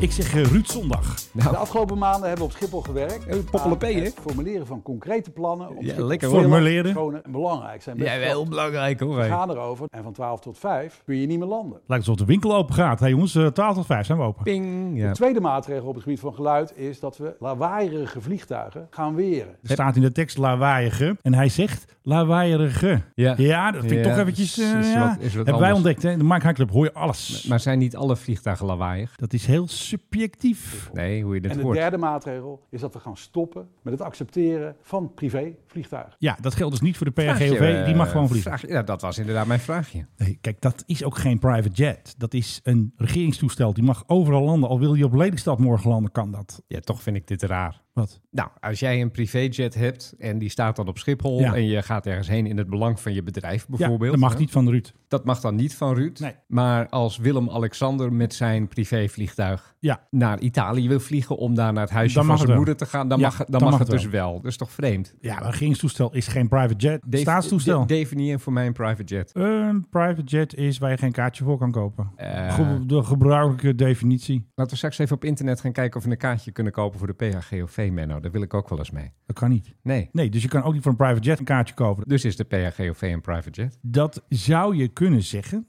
Speaker 6: Ik zeg eh, Ruud Zondag.
Speaker 2: Nou.
Speaker 4: De afgelopen maanden hebben we op Schiphol gewerkt.
Speaker 2: Eh, poppelepee,
Speaker 4: aan
Speaker 2: hè?
Speaker 4: het formuleren van concrete plannen. Op Schiphol.
Speaker 2: lekker hoor.
Speaker 6: Formuleren.
Speaker 4: Schoon en belangrijk zijn. best
Speaker 2: Ja, wel
Speaker 4: wel.
Speaker 2: heel belangrijk hoor.
Speaker 4: We
Speaker 2: hè.
Speaker 4: gaan erover. En van 12 tot 5 kun je niet meer landen.
Speaker 6: Lijkt alsof de winkel open gaat. Hé hey jongens, eh, 12 tot 5 zijn we open.
Speaker 2: Ping. Ja.
Speaker 4: De tweede maatregel op het gebied van geluid is dat we lawaaierige vliegtuigen gaan weren.
Speaker 6: Er staat in de tekst lawaaierige. En hij zegt lawaaierige.
Speaker 2: Ja.
Speaker 6: dat vind ik
Speaker 2: Ja,
Speaker 6: toch eventjes... eh,
Speaker 2: is- is
Speaker 6: ja.
Speaker 2: wat- is wat
Speaker 6: Hebben wij
Speaker 2: anders.
Speaker 6: ontdekt. Hè? In de Mike High Club hoor je alles.
Speaker 2: Maar zijn niet alle vliegtuigen lawaaiig?
Speaker 6: Dat is heel subjectief.
Speaker 2: Nee, hoe je dat
Speaker 4: En de
Speaker 2: hoort.
Speaker 4: derde maatregel is dat we gaan stoppen met het accepteren van privévliegtuigen.
Speaker 6: Ja, dat geldt dus niet voor de
Speaker 2: Vraagje,
Speaker 6: PRGOV. die mag
Speaker 2: eh,
Speaker 6: gewoon vliegen.
Speaker 2: vraag- ja, dat was inderdaad mijn vraagje.
Speaker 6: Nee, kijk, dat is ook geen private jet. Dat is een regeringstoestel. Die mag overal landen. Al wil je op Lelystad morgen landen, kan dat.
Speaker 2: Ja, toch vind ik dit raar.
Speaker 6: Wat?
Speaker 2: Nou, als jij een privéjet hebt en die staat dan op Schiphol
Speaker 6: Ja.
Speaker 2: en je gaat ergens heen in het belang van je bedrijf bijvoorbeeld.
Speaker 6: ja, dat mag
Speaker 2: hè?
Speaker 6: niet van Ruud.
Speaker 2: Dat mag dan niet van Ruud.
Speaker 6: Nee.
Speaker 2: Maar als Willem-Alexander met zijn privévliegtuig
Speaker 6: Ja,
Speaker 2: naar Italië wil vliegen om daar naar het huisje
Speaker 6: Dan
Speaker 2: van
Speaker 6: mag
Speaker 2: zijn
Speaker 6: het wel.
Speaker 2: moeder te gaan, dan,
Speaker 6: Ja,
Speaker 2: mag, dan, mag, het
Speaker 6: wel.
Speaker 2: dus wel. Dat is toch vreemd?
Speaker 6: ja maar een regeringstoestel is geen private jet.
Speaker 2: Def-
Speaker 6: Staatstoestel.
Speaker 2: de- Definieer voor mij een private jet.
Speaker 6: een private jet is waar je geen kaartje voor kan kopen.
Speaker 2: Eh.
Speaker 6: Ge- de gebruikelijke definitie.
Speaker 2: Laten we straks even op internet gaan kijken of we een kaartje kunnen kopen voor de PHGOV, Menno. Daar wil ik ook wel eens mee.
Speaker 6: Dat kan niet.
Speaker 2: Nee.
Speaker 6: Nee, dus je kan ook niet voor een private jet een kaartje kopen.
Speaker 2: Dus is de PHGOV een private jet?
Speaker 6: Dat zou je kunnen zeggen.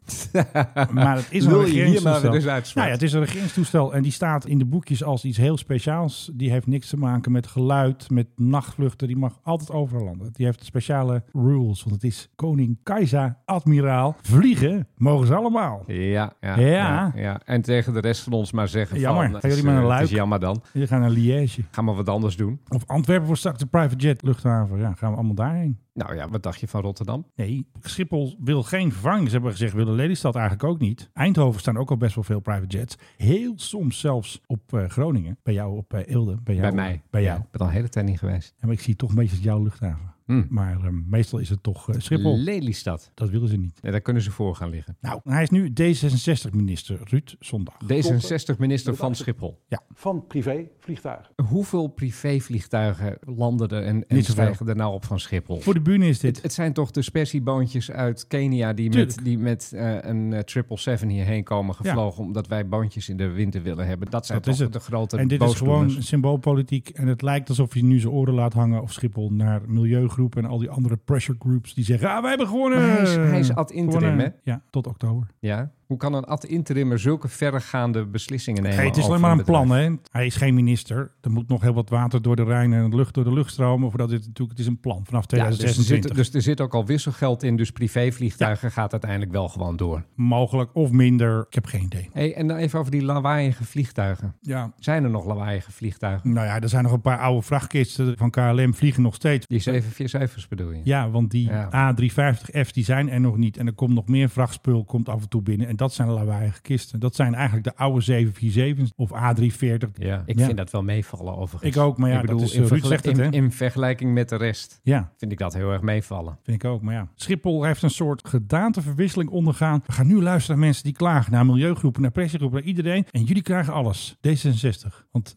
Speaker 6: maar het is een
Speaker 2: Lul je hier maar
Speaker 6: regeringstoestel.
Speaker 2: weer dus uit, Sven.
Speaker 6: nou ja, het is een regeringstoestel en die staat in de boekjes als iets heel speciaals. Die heeft niks te maken met geluid, met nachtvluchten. Die mag altijd overal landen. Die heeft speciale rules, want het is koning, keizer, admiraal. Vliegen mogen ze allemaal.
Speaker 2: Ja, ja,
Speaker 6: Ja.
Speaker 2: ja. En tegen de rest van ons maar zeggen
Speaker 6: Jammer.
Speaker 2: van...
Speaker 6: Gaan jullie maar naar
Speaker 2: eh, Het is
Speaker 6: Luik?
Speaker 2: jammer dan.
Speaker 6: Je gaat naar Liège.
Speaker 2: Ga maar wat anders doen.
Speaker 6: Of Antwerpen wordt straks de private jet luchthaven. Ja, gaan we allemaal daarheen.
Speaker 2: Nou ja, wat dacht je van Rotterdam?
Speaker 6: Nee, Schiphol wil geen vervanging. Ze hebben gezegd, willen Lelystad eigenlijk ook niet. Eindhoven staan ook al best wel veel private jets. Heel soms zelfs op eh, Groningen. Bij jou op eh, Eelde. Bij, jou,
Speaker 2: bij mij.
Speaker 6: Bij
Speaker 2: Ja,
Speaker 6: jou.
Speaker 2: Ik ben al een hele tijd niet geweest.
Speaker 6: En ik zie toch meestal jouw luchthaven.
Speaker 2: Hmm.
Speaker 6: Maar eh, meestal is het toch eh, Schiphol.
Speaker 2: Lelystad.
Speaker 6: dat willen ze niet.
Speaker 2: Ja, daar kunnen ze voor gaan liggen.
Speaker 6: Nou, hij is nu D66-minister Ruud Zondag.
Speaker 2: D66-minister van Schiphol.
Speaker 4: van privévliegtuigen.
Speaker 2: Hoeveel privévliegtuigen landen er en, en
Speaker 6: Niet zoveel.
Speaker 2: stijgen er nou op van Schiphol?
Speaker 6: Voor de bühne is dit.
Speaker 2: Het zijn toch de spersieboontjes uit Kenia die met,
Speaker 6: Tuurlijk.
Speaker 2: die met eh, een eh, 777 hierheen komen gevlogen omdat wij boontjes in de winter willen hebben. Dat zijn
Speaker 6: Dat is
Speaker 2: toch
Speaker 6: het.
Speaker 2: de grote
Speaker 6: En dit is
Speaker 2: boosdoeners.
Speaker 6: gewoon symboolpolitiek. En het lijkt alsof je nu zijn oren laat hangen of Schiphol naar milieugroepen en al die andere pressure groups die zeggen: Ah, wij hebben gewonnen.
Speaker 2: Maar hij is- hij is ad interim,
Speaker 6: Gewonnen.
Speaker 2: hè?
Speaker 6: Ja, tot oktober.
Speaker 2: Ja? Hoe kan een ad interimmer zulke verregaande beslissingen nemen?
Speaker 6: Hey, het is
Speaker 2: over
Speaker 6: alleen maar een
Speaker 2: bedrijf?
Speaker 6: plan, hè? Hij is geen minister. Er moet nog heel wat water door de Rijn en lucht door de lucht stromen. Voordat dit natuurlijk, het is een plan vanaf
Speaker 2: Ja, dus, er
Speaker 6: 2026.
Speaker 2: zit, dus er zit ook al wisselgeld in, dus privévliegtuigen gaat uiteindelijk wel gewoon door.
Speaker 6: Mogelijk of minder. Ik heb geen idee.
Speaker 2: Hey, en dan even over die lawaaiige vliegtuigen.
Speaker 6: Ja.
Speaker 2: Zijn er nog lawaaiige vliegtuigen?
Speaker 6: Nou ja, er zijn nog een paar oude vrachtkisten van KLM vliegen nog steeds.
Speaker 2: Die zeven, vier cijfers bedoel je?
Speaker 6: Ja, want die
Speaker 2: Ja.
Speaker 6: A350F's die zijn er nog niet. En er komt nog meer vrachtspul komt af en toe binnen. En dat zijn lawaaiige kisten. Dat zijn eigenlijk de oude 747's of A340.
Speaker 2: Ja. Ik
Speaker 6: Ja.
Speaker 2: vind dat wel meevallen overigens.
Speaker 6: Ik ook, maar ja,
Speaker 2: ik bedoel,
Speaker 6: dat is,
Speaker 2: in,
Speaker 6: eh, Ruud
Speaker 2: vergel-
Speaker 6: zegt het,
Speaker 2: in-
Speaker 6: hè?
Speaker 2: in vergelijking met de rest
Speaker 6: Ja,
Speaker 2: vind ik dat heel erg meevallen.
Speaker 6: Vind ik ook, maar ja. Schiphol heeft een soort gedaanteverwisseling ondergaan. We gaan nu luisteren naar mensen die klagen. Naar milieugroepen, naar pressiegroepen, naar iedereen. En jullie krijgen alles. D66. Want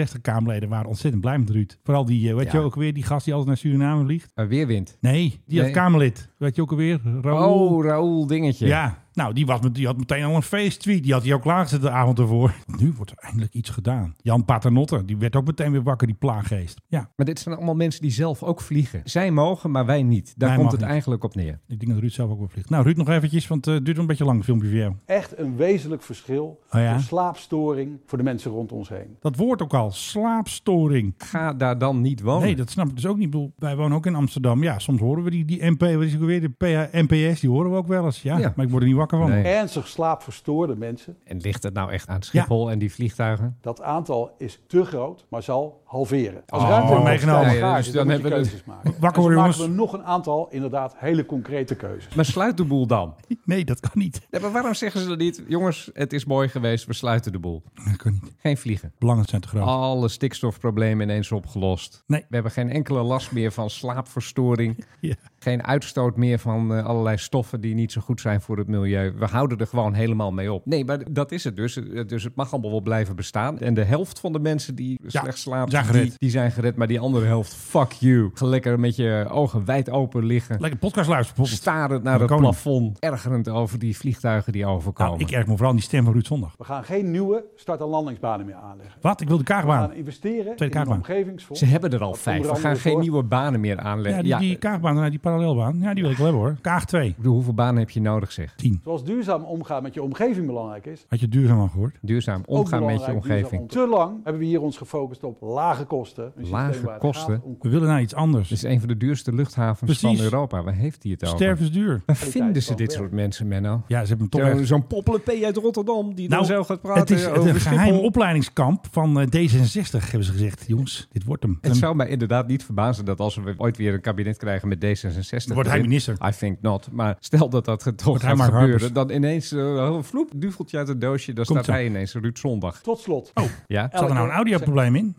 Speaker 6: D66-Kamerleden waren ontzettend blij met Ruud. Vooral die, eh, weet
Speaker 2: Ja.
Speaker 6: je ook weer, die gast die altijd naar Suriname vliegt.
Speaker 2: Maar weerwind.
Speaker 6: Nee, die had
Speaker 2: Nee.
Speaker 6: Kamerlid. Weet je ook alweer? Raoul.
Speaker 2: Oh, Raoul dingetje.
Speaker 6: Ja, nou, die, was, met- die had meteen al een feesttweet. Die had hij ook klaargezet de avond ervoor. Nu wordt er eindelijk iets gedaan. Jan Paternotte, die werd ook meteen weer wakker, die plaaggeest. Ja,
Speaker 2: Maar dit zijn allemaal mensen die zelf ook vliegen. Zij mogen, maar wij niet.
Speaker 6: Wij
Speaker 2: Daar komt
Speaker 6: mogen
Speaker 2: het
Speaker 6: niet.
Speaker 2: eigenlijk op neer.
Speaker 6: ik denk dat Ruud zelf ook wel vliegt. Nou, Ruud nog eventjes, want eh, het duurt wel een beetje lang, het filmpje voor jou.
Speaker 4: Echt een wezenlijk verschil
Speaker 6: Oh ja?
Speaker 4: voor slaapstoring voor de mensen rond ons heen.
Speaker 6: Dat woord ook al, slaapstoring.
Speaker 2: Ga daar dan niet wonen.
Speaker 6: Nee, dat snap ik dus ook niet. Ik bedoel, wij wonen ook in Amsterdam. Ja, soms horen we die, die MP, wat is het ook weer? De eh, PH, NPS, die horen we ook wel eens. Ja,
Speaker 2: Ja.
Speaker 6: maar ik word er niet wakker van.
Speaker 2: Nee.
Speaker 4: Ernstig slaapverstoorde mensen.
Speaker 2: En ligt het nou echt aan Schiphol en die vliegtuigen?
Speaker 4: Dat aantal is te groot, maar zal halveren. Als
Speaker 2: Oh,
Speaker 4: ruimte
Speaker 6: meegenomen.
Speaker 4: meegenomen.
Speaker 2: Ja, ja,
Speaker 4: Gaar,
Speaker 2: dus
Speaker 4: is, dan
Speaker 2: dan
Speaker 4: moet je
Speaker 2: hebben we
Speaker 4: keuzes maken.
Speaker 6: Wakker
Speaker 4: En zo
Speaker 6: worden,
Speaker 4: Dus maken we
Speaker 6: jongens.
Speaker 4: nog een aantal inderdaad hele concrete keuzes.
Speaker 2: Maar sluit de boel dan.
Speaker 6: Nee, dat kan niet.
Speaker 2: Nee, maar waarom zeggen ze dat niet? Jongens, het is mooi geweest, we sluiten de boel.
Speaker 6: Dat kan niet. Ah.
Speaker 2: Geen vliegen.
Speaker 6: Belangen zijn te groot.
Speaker 2: Alle stikstofproblemen ineens opgelost.
Speaker 6: Nee.
Speaker 2: We hebben geen enkele last meer van slaapverstoring.
Speaker 6: Ja.
Speaker 2: Geen uitstoot meer van eh, allerlei stoffen die niet zo goed zijn voor het milieu. We houden er gewoon helemaal mee op. Nee, maar dat is het dus. Eh, Dus het mag allemaal wel blijven bestaan. En de helft van de mensen die
Speaker 6: Ja,
Speaker 2: slecht slaapt,
Speaker 6: zijn gered.
Speaker 2: Die, die zijn gered. Maar die andere helft, fuck you. Ga lekker met je ogen wijd open liggen.
Speaker 6: Lekker podcast luisteren bijvoorbeeld.
Speaker 2: Starend naar
Speaker 6: Van
Speaker 2: het
Speaker 6: Koning.
Speaker 2: plafond. Ergerend over die vliegtuigen die overkomen.
Speaker 6: Nou, ik erg me vooral aan die stem van Ruud Zondag.
Speaker 4: We gaan geen nieuwe start- en landingsbanen meer aanleggen.
Speaker 6: Wat? Ik wil de
Speaker 4: We
Speaker 6: kaagbaan.
Speaker 4: gaan investeren in
Speaker 6: Kamer.
Speaker 4: een omgevingsfonds.
Speaker 2: Ze hebben er al
Speaker 4: Dat
Speaker 2: vijf.
Speaker 4: onder
Speaker 2: We gaan
Speaker 4: andere
Speaker 2: geen
Speaker 4: voor-
Speaker 2: nieuwe banen meer aanleggen.
Speaker 6: Ja, die, die kaagbaan, daarna die parallelbaan. Ja, die wil ik wel hebben hoor. Kaag 2.
Speaker 2: Ik bedoel, hoeveel banen heb je nodig, zeg?
Speaker 6: 10.
Speaker 4: Zoals duurzaam omgaan met je omgeving belangrijk is.
Speaker 6: Had je duurzaam al gehoord?
Speaker 2: Duurzaam
Speaker 4: ook
Speaker 2: omgaan met je
Speaker 4: belangrijk duurzaam
Speaker 2: omgeving.
Speaker 4: om- Te lang hebben we hier ons gefocust op lage kosten. Een
Speaker 2: Lage
Speaker 4: systeem waar het
Speaker 2: kosten?
Speaker 4: gaat om
Speaker 6: We willen naar iets anders.
Speaker 2: Dit is een van de duurste luchthavens
Speaker 6: Precies.
Speaker 2: van Europa. Waar heeft hij het over?
Speaker 6: Sterven is duur.
Speaker 2: Waar vinden ze
Speaker 4: van
Speaker 2: dit
Speaker 4: werk.
Speaker 2: soort mensen, Menno?
Speaker 6: Ja, ze hebben hem toch
Speaker 2: Zo'n
Speaker 6: echt...
Speaker 2: zo'n poppelepee uit Rotterdam die dan zo gaat praten
Speaker 6: Nou, het is
Speaker 2: over
Speaker 6: een geheim
Speaker 2: Schiphol.
Speaker 6: opleidingskamp van eh, D66, hebben ze gezegd. Jongens, dit wordt hem.
Speaker 2: Het zou mij inderdaad niet verbazen dat als we ooit weer een kabinet krijgen met D66...
Speaker 6: Wordt hij
Speaker 2: erin,
Speaker 6: minister.
Speaker 2: I think not. Maar stel dat dat toch
Speaker 6: Wordt hij
Speaker 2: gaat
Speaker 6: Mark
Speaker 2: gebeuren.
Speaker 6: Harbers.
Speaker 2: Dan ineens, eh, vloep, duveltje uit het doosje. Dan
Speaker 6: Komt
Speaker 2: staat
Speaker 6: zo.
Speaker 2: hij ineens Ruud Zondag.
Speaker 4: Tot slot,
Speaker 2: Ja?
Speaker 6: Zat er nou een audioprobleem in?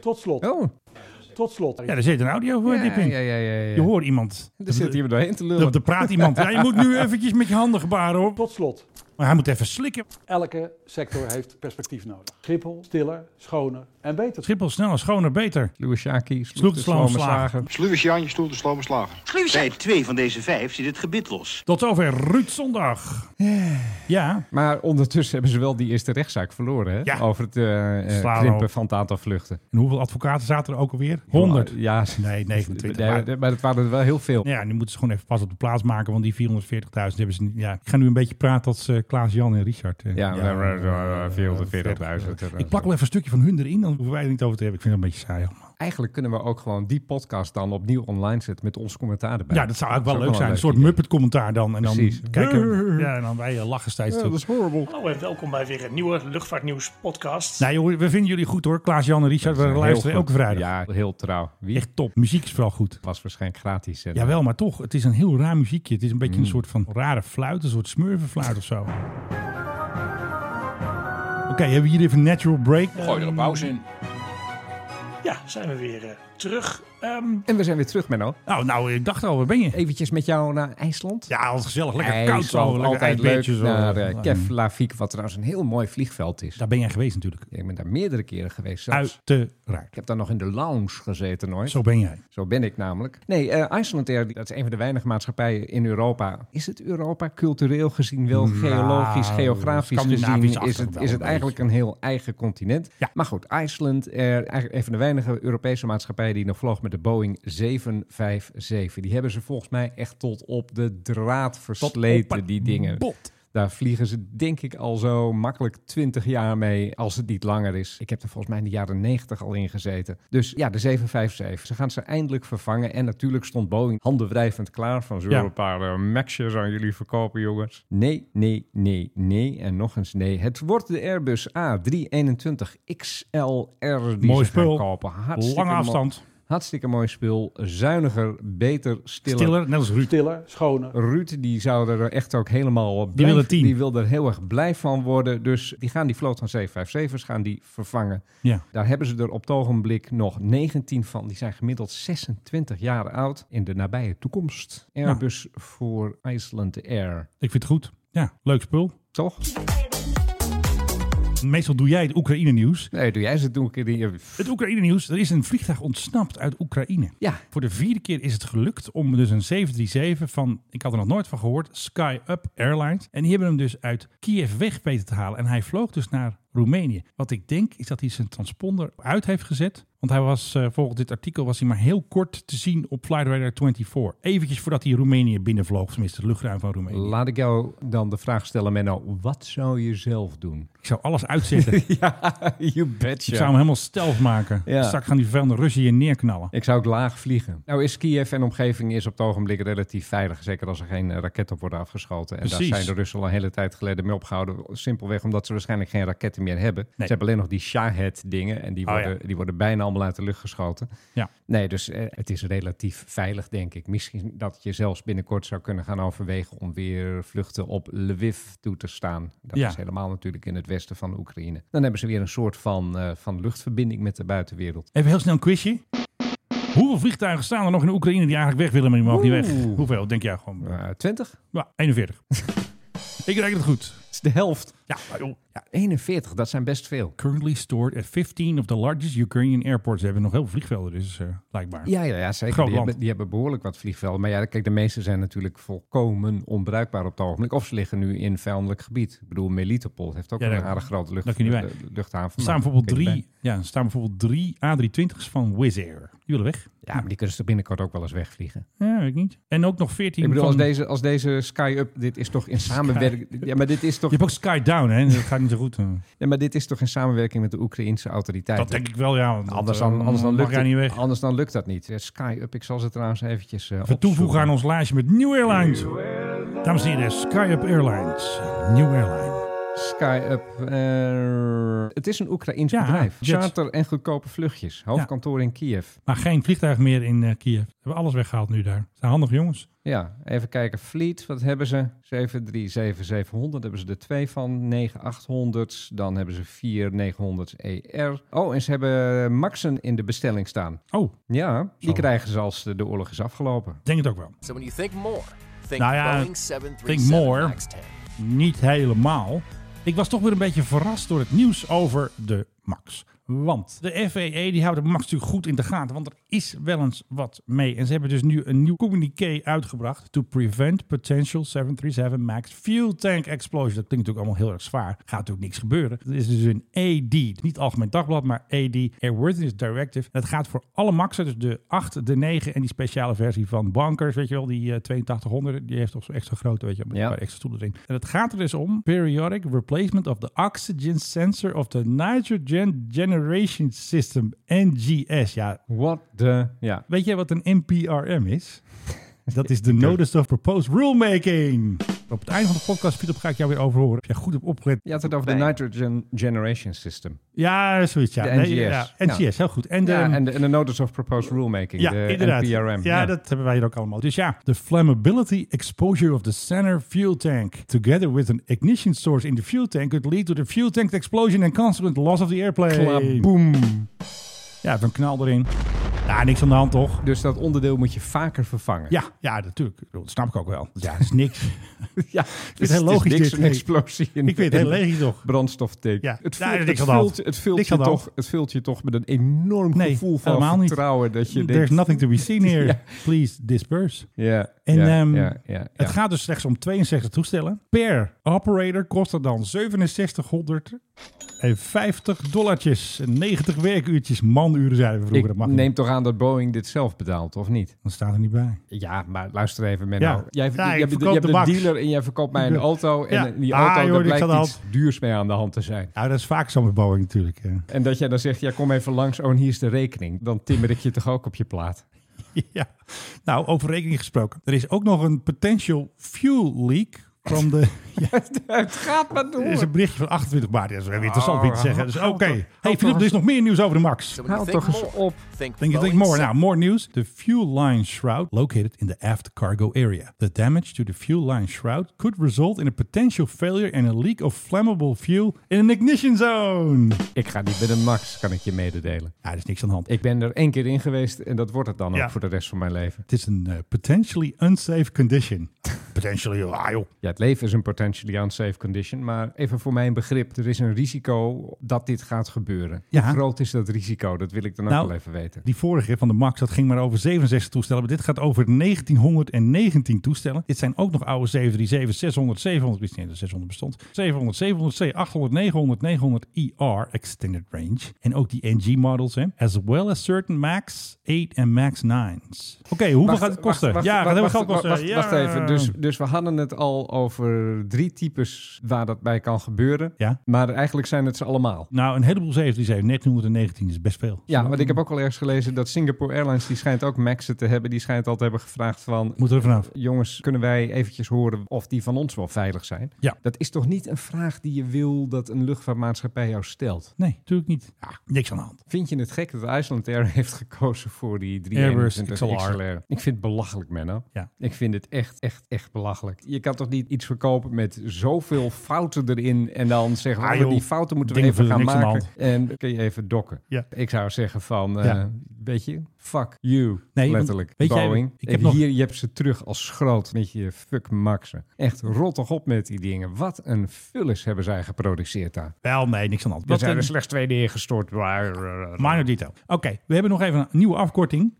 Speaker 4: tot slot,
Speaker 2: Oh,
Speaker 4: tot slot.
Speaker 6: Ja, er zit een audio
Speaker 2: ja,
Speaker 6: dip
Speaker 2: ja,
Speaker 6: in.
Speaker 2: ja, ja, ja.
Speaker 6: Je hoort iemand.
Speaker 2: Er zit hier doorheen te lullen.
Speaker 6: Er, er praat iemand. Ja, je moet nu eventjes met je handen gebaren hoor.
Speaker 4: Tot slot,
Speaker 6: Maar hij moet even slikken.
Speaker 4: Elke sector heeft perspectief nodig. Schiphol, stiller, schoner en beter.
Speaker 6: Schiphol sneller, schoner, beter.
Speaker 2: Luwashaki sloeg
Speaker 6: Sloeg
Speaker 2: de
Speaker 6: de
Speaker 2: slome
Speaker 6: slagen.
Speaker 2: slagen.
Speaker 9: Sluwetje aan je stoel, de slome slager.
Speaker 10: Bij twee van deze vijf zit het gebit los.
Speaker 6: Tot zover Ruud Zondag. Ja,
Speaker 2: Maar ondertussen hebben ze wel die eerste rechtszaak verloren. Hè?
Speaker 6: Ja.
Speaker 2: Over het eh, eh,
Speaker 6: Slaan
Speaker 2: krimpen
Speaker 6: op.
Speaker 2: van het aantal vluchten.
Speaker 6: en hoeveel advocaten zaten er ook alweer? 100.
Speaker 2: Ja,
Speaker 6: Nee, 29.
Speaker 2: Nee,
Speaker 6: Maar,
Speaker 2: maar dat waren er wel heel veel.
Speaker 6: ja, nu moeten ze gewoon even pas op de plaats maken, want die 440.000 hebben ze niet. Ja, ik ga nu een beetje praten als eh, Klaas, Jan en Richard. eh.
Speaker 2: Ja,
Speaker 6: eh,
Speaker 2: 440.000.
Speaker 6: Ik plak wel even een stukje van hun erin, dan hoeven wij er niet over te hebben. Ik vind het een beetje saai allemaal.
Speaker 2: Eigenlijk kunnen we ook gewoon die podcast dan opnieuw online zetten met ons commentaar erbij.
Speaker 6: Ja, dat zou eigenlijk wel leuk
Speaker 2: ook
Speaker 6: zijn. Een soort
Speaker 2: idee.
Speaker 6: Muppet-commentaar dan. En dan
Speaker 2: Precies.
Speaker 6: kijken. Ja, en dan wij eh, lachen steeds terug.
Speaker 2: is horrible.
Speaker 8: Hallo en welkom bij weer een nieuwe Luchtvaartnieuws podcast.
Speaker 6: Nou joh, we vinden jullie goed hoor. Klaas, Jan en Richard, we luisteren elke vrijdag.
Speaker 2: Ja, heel trouw. Wie
Speaker 6: Echt top. Muziek is vooral goed.
Speaker 2: was waarschijnlijk gratis. hè?
Speaker 6: Jawel, maar toch, het is een heel raar muziekje. Het is een beetje
Speaker 2: Mm.
Speaker 6: een soort van rare fluit, een soort smurvenfluit of zo. Oké, hebben we hier even een natural break?
Speaker 9: Gooi er een pauze in.
Speaker 8: Ja, zijn we weer eh, terug. Ehm,
Speaker 2: En we zijn weer terug, Menno.
Speaker 6: Nou, nou, ik dacht al, waar ben je?
Speaker 2: Eventjes met jou naar IJsland.
Speaker 6: Ja, altijd gezellig. Lekker koud
Speaker 2: IJsland,
Speaker 6: zo. Lekker
Speaker 2: altijd leuk
Speaker 6: ijsbeertjes, hoor.
Speaker 2: naar eh,
Speaker 6: Ja.
Speaker 2: Keflavik, wat trouwens een heel mooi vliegveld is.
Speaker 6: Daar ben jij geweest natuurlijk.
Speaker 2: Ik ben daar meerdere keren geweest zelfs.
Speaker 6: Uiteraard.
Speaker 2: Ik heb daar nog in de lounge gezeten nooit. Zo,
Speaker 6: Zo ben jij.
Speaker 2: ben ik namelijk. Nee, eh Iceland Air, dat is een van de weinige maatschappijen in Europa. Is het Europa cultureel gezien wel
Speaker 6: Nou,
Speaker 2: geologisch, geografisch gezien?
Speaker 6: Scandinavisch-achtig
Speaker 2: Is het,
Speaker 6: wel
Speaker 2: is het
Speaker 6: een
Speaker 2: eigenlijk een heel eigen continent?
Speaker 6: Ja.
Speaker 2: Maar goed, Iceland Air, eigenlijk een van de weinige Europese maatschappijen die nog vloog met de Boeing 757. Die hebben ze volgens mij echt tot op de draad
Speaker 6: op
Speaker 2: versleten,
Speaker 6: het
Speaker 2: die dingen.
Speaker 6: Bot.
Speaker 2: Daar vliegen ze denk ik al zo makkelijk 20 jaar mee, als het niet langer is. Ik heb er volgens mij in de jaren 90 al in gezeten. Dus ja, de 757. Ze gaan ze eindelijk vervangen. En natuurlijk stond Boeing handenwrijvend klaar van zullen
Speaker 6: Ja.
Speaker 2: we een paar eh, Maxjes aan jullie verkopen, jongens. Nee, nee, nee, nee. En nog eens nee. Het wordt de Airbus A321 XLR die
Speaker 6: Mooi
Speaker 2: ze gaan
Speaker 6: spul.
Speaker 2: kopen. Hartstikke
Speaker 6: Lange
Speaker 2: mo-
Speaker 6: afstand.
Speaker 2: Hartstikke mooi spul. Zuiniger, beter, stiller.
Speaker 6: Stiller, net als Ruud.
Speaker 4: Stiller, schoner.
Speaker 2: Ruud die zou er echt ook helemaal blij,
Speaker 6: wil er tien.
Speaker 2: die wil er heel erg blij van worden. Dus die gaan die vloot van 757's gaan die vervangen.
Speaker 6: Ja.
Speaker 2: Daar hebben ze er op het ogenblik nog 19 van. Die zijn gemiddeld 26 jaar oud in de nabije toekomst. Airbus voor Iceland Air.
Speaker 6: Ik vind het goed. Ja, leuk spul.
Speaker 2: Toch?
Speaker 6: Meestal doe jij het Oekraïne-nieuws.
Speaker 2: Nee, doe jij ze toen een keer die...
Speaker 6: Het Oekraïne-nieuws. Er is een vliegtuig ontsnapt uit Oekraïne.
Speaker 2: Ja,
Speaker 6: Voor de vierde keer is het gelukt om dus een 737 van, ik had er nog nooit van gehoord, Sky Up Airlines. En die hebben hem dus uit Kiev weg weten te halen. En hij vloog dus naar Roemenië. Wat ik denk is dat hij zijn transponder uit heeft gezet. Want hij was, eh, volgens dit artikel was hij maar heel kort te zien op Flight Radar 24. Eventjes voordat hij Roemenië binnenvloog, tenminste het luchtruim van Roemenië.
Speaker 2: laat ik jou dan de vraag stellen, Menno. Wat zou je zelf doen?
Speaker 6: Ik zou alles uitzetten. Ik
Speaker 2: ja, you betcha.
Speaker 6: zou hem helemaal stealth maken.
Speaker 2: Ja.
Speaker 6: Straks gaan die vervelende Russen hier neerknallen.
Speaker 2: Ik zou ook laag vliegen. Nou is Kiev en omgeving is op het ogenblik relatief veilig. Zeker als er geen eh, raketten op worden afgeschoten. En
Speaker 6: Precies.
Speaker 2: daar zijn de Russen al een hele tijd geleden mee opgehouden. Simpelweg omdat ze waarschijnlijk geen raketten meer hebben. Ze hebben alleen nog die Shahed dingen. En die
Speaker 6: Oh,
Speaker 2: worden, die worden bijna allemaal uit de lucht geschoten.
Speaker 6: Ja.
Speaker 2: Nee, dus eh, het is relatief veilig denk ik. Misschien dat je zelfs binnenkort zou kunnen gaan overwegen... om weer vluchten op Lviv toe te staan. Dat
Speaker 6: Ja.
Speaker 2: is helemaal natuurlijk in het westen van Oekraïne. Dan hebben ze weer een soort van, eh, van luchtverbinding met de buitenwereld.
Speaker 6: Even heel snel een quizje. Hoeveel vliegtuigen staan er nog in Oekraïne die eigenlijk weg willen, maar die mogen niet weg? Hoeveel? Denk jij gewoon?
Speaker 2: Eh 20?
Speaker 6: Ja, 41. ik reken het goed.
Speaker 2: Dat is de helft.
Speaker 6: Ja, maar joh. ja.
Speaker 2: 41, dat zijn best veel.
Speaker 6: Currently stored at 15 of the largest Ukrainian airports. Ze hebben nog heel veel vliegvelden, dus eh, blijkbaar.
Speaker 2: Ja, ja, ja zeker.
Speaker 6: Groot
Speaker 2: Die
Speaker 6: land.
Speaker 2: hebben, die hebben behoorlijk wat vliegvelden. Maar ja, kijk, de meeste zijn natuurlijk volkomen onbruikbaar op het ogenblik. Of ze liggen nu in vijandelijk gebied. Ik bedoel, Melitopol heeft ook
Speaker 6: Ja,
Speaker 2: een
Speaker 6: daar-
Speaker 2: aardig grote lucht,
Speaker 6: daar kun je niet bij.
Speaker 2: eh, luchthaven.
Speaker 6: Er
Speaker 2: maar
Speaker 6: staan, bijvoorbeeld
Speaker 2: kun je niet
Speaker 6: drie, ja, er staan bijvoorbeeld drie A320's van Wizz Air. Die willen weg.
Speaker 2: bij. Ja, maar die kunnen ze toch binnenkort ook wel eens wegvliegen.
Speaker 6: Ja, weet ik niet. En ook nog 14
Speaker 2: Ik bedoel, als
Speaker 6: van...
Speaker 2: deze, als deze Sky-Up, dit is toch in samenwerking... Ja, maar dit is toch,
Speaker 6: Je hebt ook Sky Down, hè? Dat gaat niet zo goed. eh.
Speaker 2: ja, maar dit is toch in samenwerking met de Oekraïnse autoriteiten?
Speaker 6: Dat denk ik wel, ja. want
Speaker 2: Anders
Speaker 6: dat,
Speaker 2: dan,
Speaker 6: eh,
Speaker 2: anders, dan
Speaker 6: mag
Speaker 2: lukt
Speaker 6: jij
Speaker 2: het,
Speaker 6: niet weg.
Speaker 2: anders dan lukt dat niet. Eh, Sky-Up, ik zal ze trouwens eventjes eh,
Speaker 6: We toevoegen
Speaker 2: opzoeken.
Speaker 6: aan ons lijstje met New Airlines. Dames en heren, Sky-Up Airlines. New Airline.
Speaker 2: SkyUp. eh, het is een Oekraïns
Speaker 6: Ja,
Speaker 2: bedrijf.
Speaker 6: jets.
Speaker 2: Charter en goedkope vluchtjes. Hoofdkantoor in Kiev.
Speaker 6: Maar geen vliegtuig meer in eh, Kiev. We hebben alles weggehaald nu daar. Zijn handige jongens.
Speaker 2: Ja, even kijken. Fleet, wat hebben ze? 737 700 hebben ze er twee van. 9800. Dan hebben ze 4 900 ER. Oh, en ze hebben Maxen in de bestelling staan.
Speaker 6: Oh,
Speaker 2: Ja, die
Speaker 6: Zo.
Speaker 2: krijgen ze als de de oorlog is afgelopen.
Speaker 6: ik denk het ook wel.
Speaker 7: So when you think more, think
Speaker 6: Nou ja,
Speaker 7: Boeing 737
Speaker 6: think more.
Speaker 7: MAX 10.
Speaker 6: niet helemaal. Ik was toch weer een beetje verrast door het nieuws over de MAX. Want de FAA die houdt de MAX natuurlijk goed in de gaten, want er is wel eens wat mee. En ze hebben dus nu een nieuw communiqué uitgebracht. To prevent potential 737 MAX fuel tank explosion. Dat klinkt natuurlijk allemaal heel erg zwaar. Gaat natuurlijk niks gebeuren. Er is dus een AD, niet Algemeen Dagblad, maar AD, Airworthiness Directive. En dat gaat voor alle MAX'en, dus de 8, de 9 en die speciale versie van Bankers, weet je wel, die eh, 8200. Die heeft toch zo'n extra grote, weet je wel, met
Speaker 2: Ja.
Speaker 6: een paar extra stoelen erin. En het gaat er dus om periodic replacement of the oxygen sensor of the nitrogen generation system, NGS. Ja,
Speaker 2: What the... Ja,
Speaker 6: weet jij wat een NPRM is? Dat is de Notice of Proposed Rulemaking. Op het einde van de podcast, Philip, ga ik jou weer over horen. Heb jij goed op opgelet?
Speaker 2: je had het over de Nitrogen Generation System.
Speaker 6: Ja, zoiets. Ja.
Speaker 2: De NGS.
Speaker 6: ja.
Speaker 2: Ja.
Speaker 6: NGS, heel goed. En de,
Speaker 2: Nou. ja, en de, en de Notice of Proposed Rulemaking,
Speaker 6: Ja,
Speaker 2: de
Speaker 6: inderdaad.
Speaker 2: NPRM.
Speaker 6: Ja, dat hebben wij hier ook allemaal. Dus ja, the flammability exposure of the center fuel tank together with an ignition source in the fuel tank could lead to the fuel tank explosion and consequent loss of the airplane.
Speaker 2: Klaboem.
Speaker 6: Ja, even een knal erin. Ja, niks aan de hand toch?
Speaker 2: Dus dat onderdeel moet je vaker vervangen.
Speaker 6: Ja, ja, natuurlijk. Dat snap ik ook wel. Dus ja, dat is niks.
Speaker 2: ja
Speaker 6: het heel logisch
Speaker 2: niks,
Speaker 6: dit.
Speaker 2: een
Speaker 6: Nee.
Speaker 2: explosie in
Speaker 6: ik weet het heel leeg toch?
Speaker 2: brandstoftank.
Speaker 6: Ja,
Speaker 2: Het
Speaker 6: daar
Speaker 2: vult,
Speaker 6: is
Speaker 2: het,
Speaker 6: niks aan de hand.
Speaker 2: vult, het, vult
Speaker 6: Niks
Speaker 2: je
Speaker 6: aan de hand.
Speaker 2: toch, het vult je toch met een enorm
Speaker 6: Nee,
Speaker 2: gevoel
Speaker 6: helemaal
Speaker 2: van
Speaker 6: niet.
Speaker 2: vertrouwen. Dat je
Speaker 6: There's
Speaker 2: denkt,
Speaker 6: nothing to be seen here.
Speaker 2: Ja.
Speaker 6: Please disperse.
Speaker 2: Ja,
Speaker 6: En
Speaker 2: ja,
Speaker 6: ehm,
Speaker 2: ja, ja, ja.
Speaker 6: het gaat dus slechts om 62 toestellen. Per operator kost dat dan 6700 en 50 dollartjes. En 90 werkuurtjes. Manuren zeiden we vroeger.
Speaker 2: Ik
Speaker 6: dat mag niet.
Speaker 2: neem toch aan dat Boeing dit zelf betaalt, of niet?
Speaker 6: Dat staat er niet bij.
Speaker 2: Ja, maar luister even, Menno.
Speaker 6: Ja.
Speaker 2: Jij,
Speaker 6: Ja,
Speaker 2: jij,
Speaker 6: ik
Speaker 2: bent-
Speaker 6: verkoop
Speaker 2: je hebt
Speaker 6: de
Speaker 2: een
Speaker 6: Max.
Speaker 2: dealer en jij verkoopt mij een
Speaker 6: Ja.
Speaker 2: auto. En
Speaker 6: Ja.
Speaker 2: eh, die
Speaker 6: Ah,
Speaker 2: auto,
Speaker 6: joh,
Speaker 2: daar
Speaker 6: niks aan
Speaker 2: blijkt
Speaker 6: de
Speaker 2: iets duurs mee aan de hand te zijn.
Speaker 6: Nou, dat is vaak zo met Boeing natuurlijk. hè.
Speaker 2: En dat jij dan zegt, ja, kom even langs. Oh, en hier is de rekening. Dan timmer ik je toch ook op je plaat.
Speaker 6: ja. Nou, over rekening gesproken. Er is ook nog een potential fuel leak. From the, ja,
Speaker 2: Het gaat maar door.
Speaker 6: er is een berichtje van 28 maart. Dat is wel weer interessant om weer te zeggen. Dus oké. Hey
Speaker 2: Oh, houd
Speaker 6: Filip,
Speaker 2: toch
Speaker 6: er is nog meer nieuws over de MAX.
Speaker 2: Haal toch eens op.
Speaker 6: Think you think more. Now, more news. The fuel line shroud located in the aft cargo area. The damage to the fuel line shroud could result in a potential failure and a leak of flammable fuel in an ignition zone.
Speaker 2: Ik ga niet met een Max, kan ik je mededelen.
Speaker 6: Ja, er is niks aan de hand.
Speaker 2: Ik ben er één keer in geweest en dat wordt het dan
Speaker 6: Ja.
Speaker 2: ook voor de rest van mijn leven.
Speaker 6: Het is een eh, potentially unsafe condition. potentially, ah joh.
Speaker 2: Ja, het leven is een potentially unsafe condition, maar even voor mijn begrip, er is een risico dat dit gaat gebeuren.
Speaker 6: Ja.
Speaker 2: Hoe groot is dat risico? Dat wil ik dan
Speaker 6: Nou,
Speaker 2: ook wel even weten.
Speaker 6: Die vorige van de Max, dat ging maar over 67 toestellen. Maar dit gaat over 1919 toestellen. Dit zijn ook nog oude 737, 600, 700, wist niet eens dat 600 bestond. 700, 700C, 800, 900, 900 ER, E Extended Range. En ook die NG-models, hè. As well as certain MAX 8 en MAX 9's. Oké, hoeveel
Speaker 2: Wacht,
Speaker 6: gaat het
Speaker 2: wacht,
Speaker 6: kosten?
Speaker 2: wacht,
Speaker 6: ja,
Speaker 2: wacht,
Speaker 6: gaat het
Speaker 2: wacht,
Speaker 6: geld kosten?
Speaker 2: Wacht,
Speaker 6: Ja.
Speaker 2: wacht even. Dus, dus we hadden het al over drie types waar dat bij kan gebeuren.
Speaker 6: Ja.
Speaker 2: Maar eigenlijk zijn het ze allemaal.
Speaker 6: Nou, een heleboel 737, 1919 is best veel.
Speaker 2: Ja, want ik heb ook al ergens gelezen dat Singapore Airlines, die schijnt ook Maxen te hebben. Die schijnt al te hebben gevraagd van,
Speaker 6: Moet er vanaf.
Speaker 2: jongens, kunnen wij eventjes horen of die van ons wel veilig zijn?
Speaker 6: Ja.
Speaker 2: Dat is toch niet een vraag die je wil dat een luchtvaartmaatschappij jou stelt?
Speaker 6: Nee, natuurlijk niet. Ja, niks aan de hand.
Speaker 2: Vind je het gek dat Iceland Air heeft gekozen voor die
Speaker 6: Airbus
Speaker 2: 321
Speaker 6: XLR?
Speaker 2: XLR? Ik vind het belachelijk, Menno.
Speaker 6: Ja.
Speaker 2: Ik vind het echt, echt, echt belachelijk. Je kan toch niet iets verkopen met zoveel fouten erin en dan zeggen we,
Speaker 6: Ah,
Speaker 2: oh,
Speaker 6: joh.
Speaker 2: die fouten moeten we
Speaker 6: Dingen
Speaker 2: even gaan
Speaker 6: vullen niks aan de
Speaker 2: maken. En kun je even dokken.
Speaker 6: Ja.
Speaker 2: Ik zou zeggen van, eh,
Speaker 6: Ja.
Speaker 2: weet je, fuck you,
Speaker 6: want
Speaker 2: letterlijk.
Speaker 6: weet jij,
Speaker 2: Boeing.
Speaker 6: ik
Speaker 2: ik
Speaker 6: heb
Speaker 2: heb
Speaker 6: nog-
Speaker 2: Hier, je hebt ze terug als schroot met je fuck maxen. Echt rot toch op met die dingen. Wat een vullis hebben zij geproduceerd daar.
Speaker 6: Wel, nee, niks aan de hand.
Speaker 2: Er
Speaker 6: Wat
Speaker 2: zijn
Speaker 6: een-
Speaker 2: er slechts twee neergestort. eh,
Speaker 6: Minor detail. Oké, we hebben nog even een nieuwe afkorting.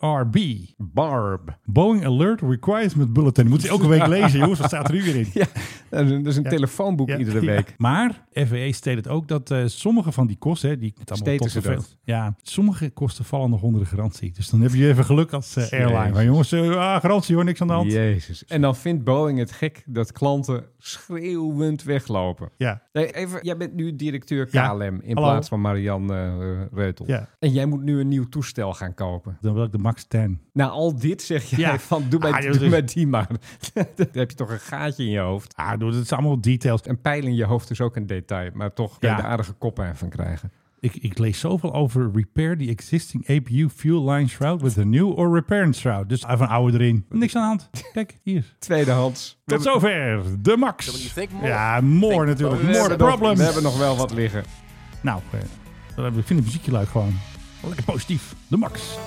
Speaker 6: BARB.
Speaker 2: Barb.
Speaker 6: Boeing Alert Requirement Bulletin. Moet je elke week lezen, jongens. Wat staat er nu weer in?
Speaker 2: Ja, dat is een, dat is een telefoonboek
Speaker 6: Ja,
Speaker 2: iedere
Speaker 6: ja.
Speaker 2: week.
Speaker 6: Maar FWE steelt het ook dat eh, sommige van die kosten, hè, die ik net allemaal
Speaker 2: Steten
Speaker 6: tot
Speaker 2: ze
Speaker 6: zoveel-
Speaker 2: dat?
Speaker 6: Ja, sommige kosten vallen nog onder de garantie. Dus dan heb je even geluk als eh, airline.
Speaker 2: Jezus.
Speaker 6: Maar jongens, eh, ah, garantie hoor, niks aan de hand.
Speaker 2: Jezus. En dan vindt Boeing het gek dat klanten schreeuwend weglopen.
Speaker 6: Ja,
Speaker 2: Nee, even, jij bent nu directeur KLM
Speaker 6: Ja.
Speaker 2: in
Speaker 6: Hallo.
Speaker 2: plaats van Marianne eh, Reutel.
Speaker 6: Ja.
Speaker 2: En jij moet nu een nieuw toestel gaan kopen.
Speaker 6: dan wil ik de Max 10.
Speaker 2: Na al dit zeg jij
Speaker 6: Ja.
Speaker 2: van doe mij,
Speaker 6: Ah, joh,
Speaker 2: doe
Speaker 6: dus-
Speaker 2: mij die maar. Dan heb je toch een gaatje in je hoofd.
Speaker 6: Ah, doe, dat zijn allemaal details.
Speaker 2: Een pijl in je hoofd is ook een detail, maar toch kun je
Speaker 6: Ja.
Speaker 2: er aardige koppen van krijgen.
Speaker 6: Ik, ik lees zoveel over repair the existing APU fuel line shroud with a new or repair shroud. Dus even een oude erin. Niks aan de hand. Kijk, hier.
Speaker 2: Tweedehands. We
Speaker 6: Tot
Speaker 2: hebben-
Speaker 6: zover, de max. Nou. Ja, more natuurlijk.
Speaker 2: we
Speaker 6: More
Speaker 2: hebben nog-
Speaker 6: problems.
Speaker 2: We hebben nog wel wat liggen.
Speaker 6: Nou, eh, dan hebben we- ik vind het muziekje leuk gewoon. Lekker positief. De max.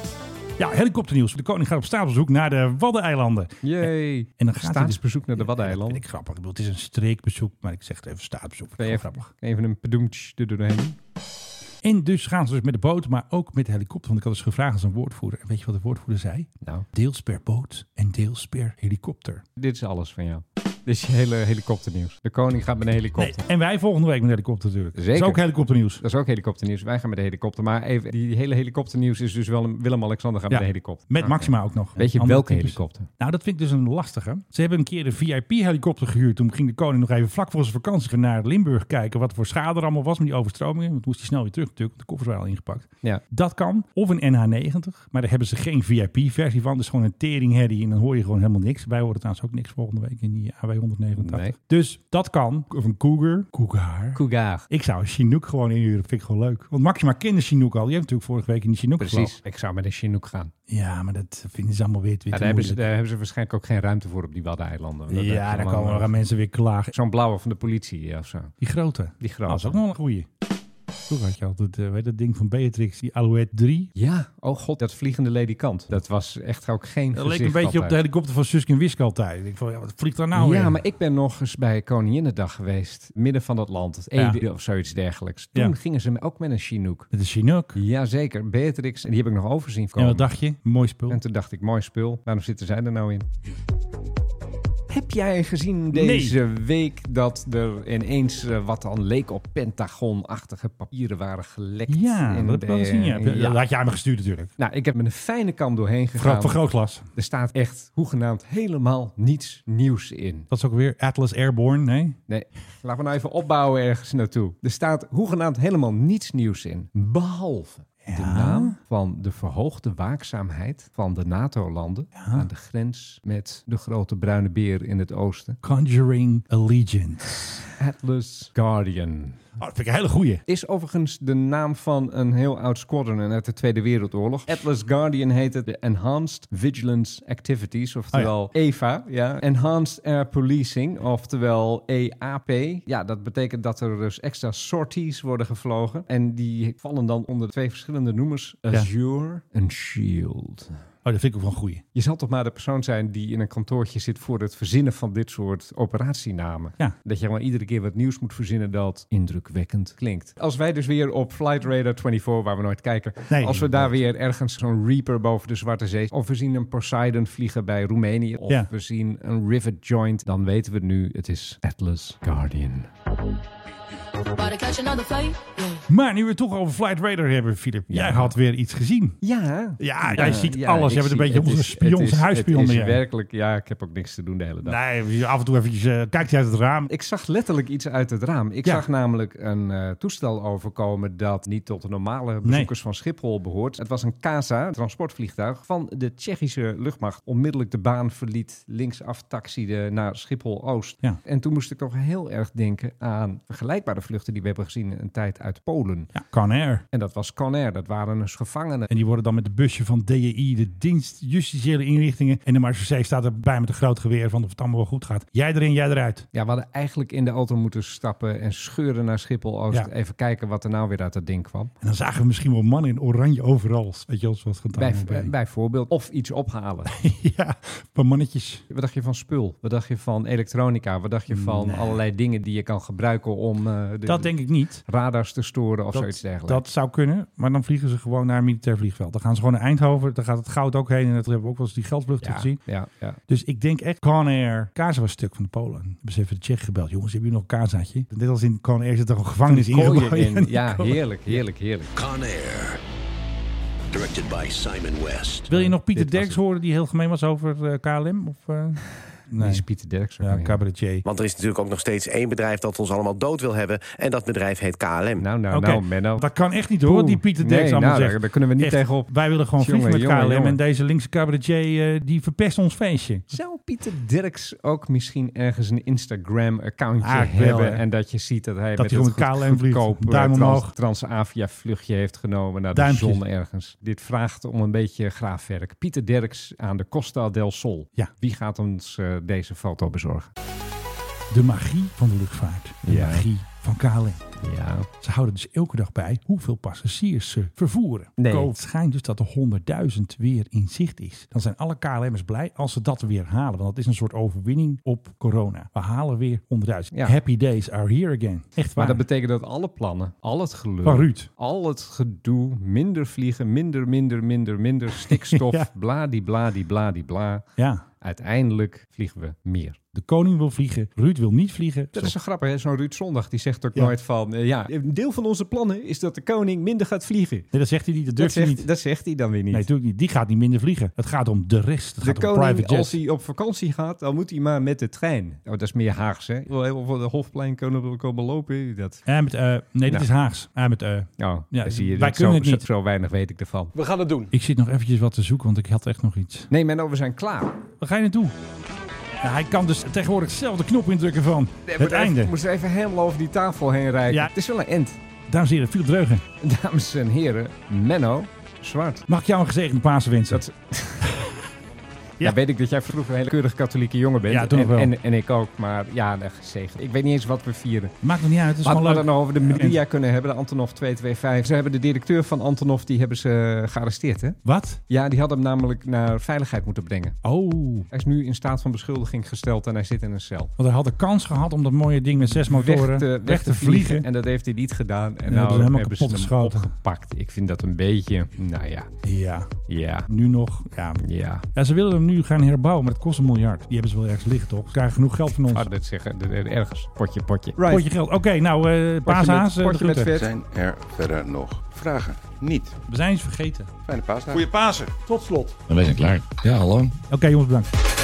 Speaker 6: Ja, helikopternieuws. De koning gaat op staatsbezoek naar de Waddeneilanden.
Speaker 2: Jee.
Speaker 6: En dan gaat hij dus-
Speaker 2: Staatsbezoek naar
Speaker 6: Dat
Speaker 2: de
Speaker 6: vind
Speaker 2: Waddeneilanden.
Speaker 6: ik grappig. Ik bedoel, het is een streekbezoek, maar ik zeg het even staatsbezoek. Dat is wel
Speaker 2: Even,
Speaker 6: grappig.
Speaker 2: even een pedoemtje er doorheen. doen.
Speaker 6: En dus gaan ze dus met de boot, maar ook met de helikopter. Want ik had dus gevraagd als een woordvoerder. En weet je wat de woordvoerder zei?
Speaker 2: Nou,
Speaker 6: Deels per boot en deels per helikopter.
Speaker 2: dit is alles van jou. Dit is je hele helikopternieuws. De koning gaat met een helikopter.
Speaker 6: Nee, en wij volgende week met de helikopter natuurlijk.
Speaker 2: Zeker.
Speaker 6: Dat is ook helikopternieuws.
Speaker 2: Dat is ook helikopternieuws. Wij gaan met de helikopter. Maar even, die hele helikopternieuws is dus wel een Willem-Alexander gaat
Speaker 6: Ja,
Speaker 2: met de helikopter.
Speaker 6: Met
Speaker 2: Ah,
Speaker 6: Maxima ook nog.
Speaker 2: oké. Weet je
Speaker 6: Andere
Speaker 2: welke
Speaker 6: types.
Speaker 2: helikopter?
Speaker 6: Nou, dat vind ik dus een lastige. Ze hebben een keer de VIP-helikopter gehuurd. Toen ging de koning nog even vlak voor zijn vakantie naar Limburg kijken. Wat voor schade er allemaal was met die overstromingen. Want moest hij snel weer terug natuurlijk, want de koffers waren al ingepakt.
Speaker 2: Ja.
Speaker 6: Dat kan. Of een NH90. Maar daar hebben ze geen VIP-versie van. Dus gewoon een teringherrie en dan hoor je gewoon helemaal niks. Wij horen trouwens ook niks volgende week in die AW189.
Speaker 2: Nee.
Speaker 6: Dus dat kan. Of een Cougar. Cougar.
Speaker 2: Cougar.
Speaker 6: Ik zou een Chinook gewoon inhuren. Vind ik gewoon leuk. Want Maxima kende Chinook al. Die heeft natuurlijk vorige week in die Chinook
Speaker 2: Precies. Ik zou met een Chinook gaan.
Speaker 6: gevlogen. Ja, maar dat vinden ze allemaal weer, weer
Speaker 2: Ja,
Speaker 6: te
Speaker 2: daar, hebben ze,
Speaker 6: moeilijk.
Speaker 2: daar hebben ze waarschijnlijk ook geen ruimte voor op die Waddeneilanden. Dat hebben
Speaker 6: Ja,
Speaker 2: ze
Speaker 6: dan
Speaker 2: lang-
Speaker 6: komen er aan mensen weer klagen.
Speaker 2: Zo'n blauwe van de politie of zo.
Speaker 6: Die grote.
Speaker 2: Die grote.
Speaker 6: Dat is ook nog een goeie. Vroeger had je altijd, eh, weet je dat ding van Beatrix, die Alouette 3.
Speaker 2: Ja, oh god, dat vliegende ledikant. Dat was echt ook geen
Speaker 6: Dat leek
Speaker 2: gezicht
Speaker 6: een beetje op de
Speaker 2: altijd.
Speaker 6: helikopter van Suske en Wiske altijd. Ik denk van, ja, wat vliegt daar nou
Speaker 2: ja,
Speaker 6: weer?
Speaker 2: maar ik ben nog eens bij Koninginnedag geweest. Midden van dat land. Het
Speaker 6: Ja.
Speaker 2: Ede of zoiets dergelijks. Toen
Speaker 6: Ja.
Speaker 2: gingen ze ook met een Chinook.
Speaker 6: Het is Chinook.
Speaker 2: Jazeker, Beatrix. En die heb ik nog overzien
Speaker 6: En
Speaker 2: komen.
Speaker 6: wat dacht je? Mooi spul.
Speaker 2: En toen dacht ik, mooi spul. Waarom zitten zij er nou in? Heb jij gezien deze week dat er ineens eh, wat dan leek op Pentagon-achtige papieren waren gelekt?
Speaker 6: ja,
Speaker 2: En
Speaker 6: dat heb ik wel
Speaker 2: de-
Speaker 6: gezien. Ja.
Speaker 2: ja.
Speaker 6: Dat had jij me gestuurd natuurlijk.
Speaker 2: Nou, ik heb met een fijne kam doorheen
Speaker 6: Vergroot,
Speaker 2: gegaan.
Speaker 6: vergrootglas.
Speaker 2: Er staat echt hoegenaamd helemaal niets nieuws in.
Speaker 6: Dat is ook weer Atlas Airborne, nee?
Speaker 2: Nee, laten we nou even opbouwen ergens naartoe. Er staat hoegenaamd helemaal niets nieuws in. Behalve de naam van de verhoogde waakzaamheid van de NATO-landen aan de grens met de grote bruine beer in het oosten.
Speaker 6: Conjuring Allegiance.
Speaker 2: Atlas Guardian.
Speaker 6: Oh, dat vind ik een hele goeie.
Speaker 2: Is overigens de naam van een heel oud squadron uit de Tweede Wereldoorlog. Atlas Guardian heet het de Enhanced Vigilance Activities, oftewel EVA. Ja. Enhanced Air Policing, oftewel EAP. Ja, dat betekent dat er dus extra sorties worden gevlogen. En die vallen dan onder twee verschillende noemers. Azure en Shield.
Speaker 6: Oh, dat vind ik ook wel een goeie.
Speaker 2: Je zal toch maar de persoon zijn die in een kantoortje zit voor het verzinnen van dit soort operatienamen.
Speaker 6: Ja.
Speaker 2: Dat je gewoon iedere keer wat nieuws moet verzinnen dat indrukwekkend klinkt. Als wij dus weer op Flight Radar 24, waar we nooit kijken,
Speaker 6: Nee,
Speaker 2: als we daar weer ergens zo'n Reaper boven de Zwarte Zee, of we zien een Poseidon vliegen bij Roemenië, of
Speaker 6: Ja.
Speaker 2: we zien een Rivet Joint, dan weten we nu, het is Atlas Guardian.
Speaker 5: About to catch another flight, yeah.
Speaker 6: Maar nu we het toch over Flight Radar hebben, Filip. Jij had weer iets gezien.
Speaker 2: Ja.
Speaker 6: Ja, Ah, jij ziet alles.
Speaker 2: ik
Speaker 6: Je bent een
Speaker 2: zie-
Speaker 6: beetje
Speaker 2: het
Speaker 6: onze
Speaker 2: is-
Speaker 6: spion,
Speaker 2: het is-
Speaker 6: huisspion
Speaker 2: Het is
Speaker 6: ben jij.
Speaker 2: werkelijk, ja, ik heb ook niks te doen de hele dag.
Speaker 6: Nee, af en toe eventjes eh, kijkt hij uit het raam.
Speaker 2: Ik zag letterlijk iets uit het raam. Ik
Speaker 6: Ja.
Speaker 2: zag namelijk een eh, toestel overkomen dat niet tot de normale bezoekers van Schiphol behoort. Het was een CASA, transportvliegtuig, van de Tsjechische luchtmacht. Onmiddellijk de baan verliet, linksaf taxiede naar Schiphol-Oost.
Speaker 6: Ja.
Speaker 2: En toen moest ik toch heel erg denken aan vergelijkbare vluchten die we hebben gezien een tijd uit Polen.
Speaker 6: Ja, Conair.
Speaker 2: En dat was Conair, dat waren dus gevangenen.
Speaker 6: En die worden dan met de busje van DJI, de dienst justitiële inrichtingen. En de marechaussee staat erbij met een groot geweer van of het allemaal wel goed gaat. Jij erin, jij eruit.
Speaker 2: Ja, we hadden eigenlijk in de auto moeten stappen en scheuren naar Schiphol-Oost.
Speaker 6: Ja.
Speaker 2: Even kijken wat er nou weer uit dat ding kwam.
Speaker 6: En dan zagen we misschien wel mannen in oranje overal. Weet je, als wat gedaan
Speaker 2: Bij, eh,
Speaker 6: bij-
Speaker 2: bijvoorbeeld, of iets ophalen.
Speaker 6: Ja, een paar mannetjes.
Speaker 2: Wat dacht je van spul? Wat dacht je van elektronica? Wat dacht je van allerlei dingen die je kan gebruiken om eh, de,
Speaker 6: Dat denk ik niet.
Speaker 2: radars te storen of zoiets
Speaker 6: Dat,
Speaker 2: dergelijks?
Speaker 6: dat zou kunnen, maar dan vliegen ze gewoon naar een militair vliegveld. Dan gaan ze gewoon naar Eindhoven, dan gaat het goud ook heen. En dat hebben we ook wel eens die geldvluchten
Speaker 2: ja,
Speaker 6: gezien.
Speaker 2: ja, ja.
Speaker 6: Dus ik denk echt, Conair, Kaza was stuk van de Polen. Hebben ze even de Tsjech gebeld. Jongens, hebben jullie nog een Kazaatje? Net als in Conair zit er een gevangenis
Speaker 2: Kooien
Speaker 6: ingebouwd.
Speaker 2: in. Ja, heerlijk, heerlijk, heerlijk.
Speaker 7: Conair. Directed by Simon West.
Speaker 6: Wil je nog Pieter
Speaker 2: Dit was
Speaker 6: Derks
Speaker 2: het.
Speaker 6: horen die heel gemeen was over eh, KLM? Of, eh?
Speaker 2: Die
Speaker 6: Nee,
Speaker 2: is Pieter Derks. ook
Speaker 6: ja,
Speaker 2: weer.
Speaker 6: cabaretier.
Speaker 11: Want er is natuurlijk ook nog steeds één bedrijf dat ons allemaal dood wil hebben. En dat bedrijf heet KLM.
Speaker 2: Nou, nou,
Speaker 6: Oké,
Speaker 2: nou, Menno.
Speaker 6: dat kan echt niet hoor, wat die
Speaker 2: Poeh.
Speaker 6: Pieter Derks
Speaker 2: Nee,
Speaker 6: allemaal
Speaker 2: nou,
Speaker 6: zegt.
Speaker 2: daar- daar kunnen we niet
Speaker 6: Echt,
Speaker 2: tegenop.
Speaker 6: Wij willen gewoon
Speaker 2: Jongen,
Speaker 6: vliegen met
Speaker 2: jongen,
Speaker 6: KLM en
Speaker 2: jongen.
Speaker 6: deze linkse cabaretier eh, die verpest ons feestje.
Speaker 2: Zou Pieter Derks ook misschien ergens een Instagram-accountje
Speaker 6: Ah, ik wil,
Speaker 2: hebben?
Speaker 6: hè.
Speaker 2: en dat je ziet dat hij
Speaker 6: Dat hij
Speaker 2: met het
Speaker 6: gewoon
Speaker 2: goed-
Speaker 6: KLM vliegt.
Speaker 2: goedkoop eh,
Speaker 6: Duim
Speaker 2: trans,
Speaker 6: omhoog.
Speaker 2: Transavia-vluchtje heeft genomen naar
Speaker 6: Duimpjes.
Speaker 2: de zon ergens. Dit vraagt om een beetje graafwerk. Pieter Derks aan de Costa del Sol.
Speaker 6: Ja.
Speaker 2: Wie gaat ons eh, deze foto bezorgen?
Speaker 6: De magie van de luchtvaart. De
Speaker 2: Ja.
Speaker 6: magie van KLM.
Speaker 2: Ja.
Speaker 6: Ze houden dus elke dag bij hoeveel passagiers ze vervoeren.
Speaker 2: Nee.
Speaker 6: Ko- Het schijnt dus dat de 100.000 weer in zicht is. Dan zijn alle KLM'ers blij als ze dat weer halen. Want dat is een soort overwinning op corona. We halen weer 100.000.
Speaker 2: Ja.
Speaker 6: Happy days are here again. Echt waar.
Speaker 2: Maar dat betekent dat alle plannen, al het geluk,
Speaker 6: Van Ruud.
Speaker 2: al het gedoe, minder vliegen, minder, minder, minder, minder stikstof,
Speaker 6: Ja.
Speaker 2: bladibladibladibla.
Speaker 6: ja.
Speaker 2: Uiteindelijk vliegen we meer.
Speaker 6: De koning wil vliegen, Ruud wil niet vliegen.
Speaker 2: Dat
Speaker 6: Zo.
Speaker 2: is zo grappig, hè? Zo'n Ruud Zondag, die zegt ook
Speaker 6: Ja.
Speaker 2: nooit van... eh, ja, een deel van onze plannen is dat de koning minder gaat vliegen.
Speaker 6: Nee, dat zegt hij niet, dat
Speaker 2: Dat
Speaker 6: durft hij niet.
Speaker 2: zegt, dat zegt hij dan weer niet.
Speaker 6: Nee, natuurlijk niet. Die gaat niet minder vliegen. Het gaat om de rest. Het
Speaker 2: de
Speaker 6: gaat om private
Speaker 2: koning,
Speaker 6: jets.
Speaker 2: als hij op vakantie gaat, dan moet hij maar met de trein. Oh, dat is meer Haags, hè? Wil heel veel de Hofplein komen, komen lopen. Dat,
Speaker 6: Eh, met, eh, nee, dit
Speaker 2: Ja.
Speaker 6: is Haags. Eh, met, eh,
Speaker 2: oh,
Speaker 6: Ja,
Speaker 2: ja, zie je,
Speaker 6: wij
Speaker 2: dat
Speaker 6: kunnen
Speaker 2: zo,
Speaker 6: het niet.
Speaker 2: zo weinig weet ik ervan.
Speaker 4: We gaan het doen.
Speaker 6: ik zit nog eventjes wat te zoeken, want ik had echt nog iets.
Speaker 2: Nee, Menno, we zijn klaar.
Speaker 6: Waar ga je naartoe? Nou, hij kan dus tegenwoordig zelf de knop indrukken van het einde.
Speaker 2: Ik moest even helemaal over die tafel heen reiken.
Speaker 6: Ja.
Speaker 2: Het is wel een end.
Speaker 6: Dames en heren, Philip Dreugen.
Speaker 2: Dames en heren, Menno Zwart.
Speaker 6: Mag ik jou een gezegende Pasen wensen?
Speaker 2: Dat- Ja. Nou, weet ik dat jij vroeger een hele keurige katholieke jongen bent.
Speaker 6: Ja, toen
Speaker 2: en,
Speaker 6: wel.
Speaker 2: En, en ik ook, maar ja, nou, gezegend. Ik weet niet eens wat we vieren.
Speaker 6: Maakt nog niet uit, het is
Speaker 2: Laten we
Speaker 6: gewoon
Speaker 2: het
Speaker 6: leuk.
Speaker 2: dan over
Speaker 6: Ja,
Speaker 2: de media kunnen hebben, de Antonov 225. Ze hebben de directeur van Antonov, die hebben ze eh, gearresteerd, hè?
Speaker 6: Wat?
Speaker 2: Ja, die hadden hem namelijk naar veiligheid moeten brengen.
Speaker 6: Oh,
Speaker 2: Hij is nu in staat van beschuldiging gesteld en hij zit in een cel.
Speaker 6: want hij had de kans gehad om dat mooie ding met zes motoren
Speaker 2: weg te, weg te vliegen. En dat heeft hij niet gedaan. En
Speaker 6: hebben ze
Speaker 2: nou
Speaker 6: hem helemaal
Speaker 2: hebben ze hem
Speaker 6: kapot geschoten.
Speaker 2: opgepakt. Ik vind dat een beetje, nou ja,
Speaker 6: Ja,
Speaker 2: ja,
Speaker 6: nu nog. Ja.
Speaker 2: ja.
Speaker 6: ja, ze willen hem nu gaan herbouwen, maar dat kost een miljard. Die hebben ze wel ergens liggen, toch? Ze krijgen genoeg geld van ons.
Speaker 2: Laat dat zeggen, Er- er- ergens. Potje, potje.
Speaker 6: Potje geld. Oké, nou, eh
Speaker 2: Potje met-
Speaker 6: paashaas. eh, de
Speaker 2: potje met
Speaker 6: groeten.
Speaker 2: vet.
Speaker 9: Zijn er verder nog vragen? Niet.
Speaker 6: We zijn iets vergeten.
Speaker 9: Fijne paasdag. Goeie paas.
Speaker 4: Tot slot.
Speaker 3: En wij zijn klaar. Ja, hallo.
Speaker 6: Oké, jongens, bedankt.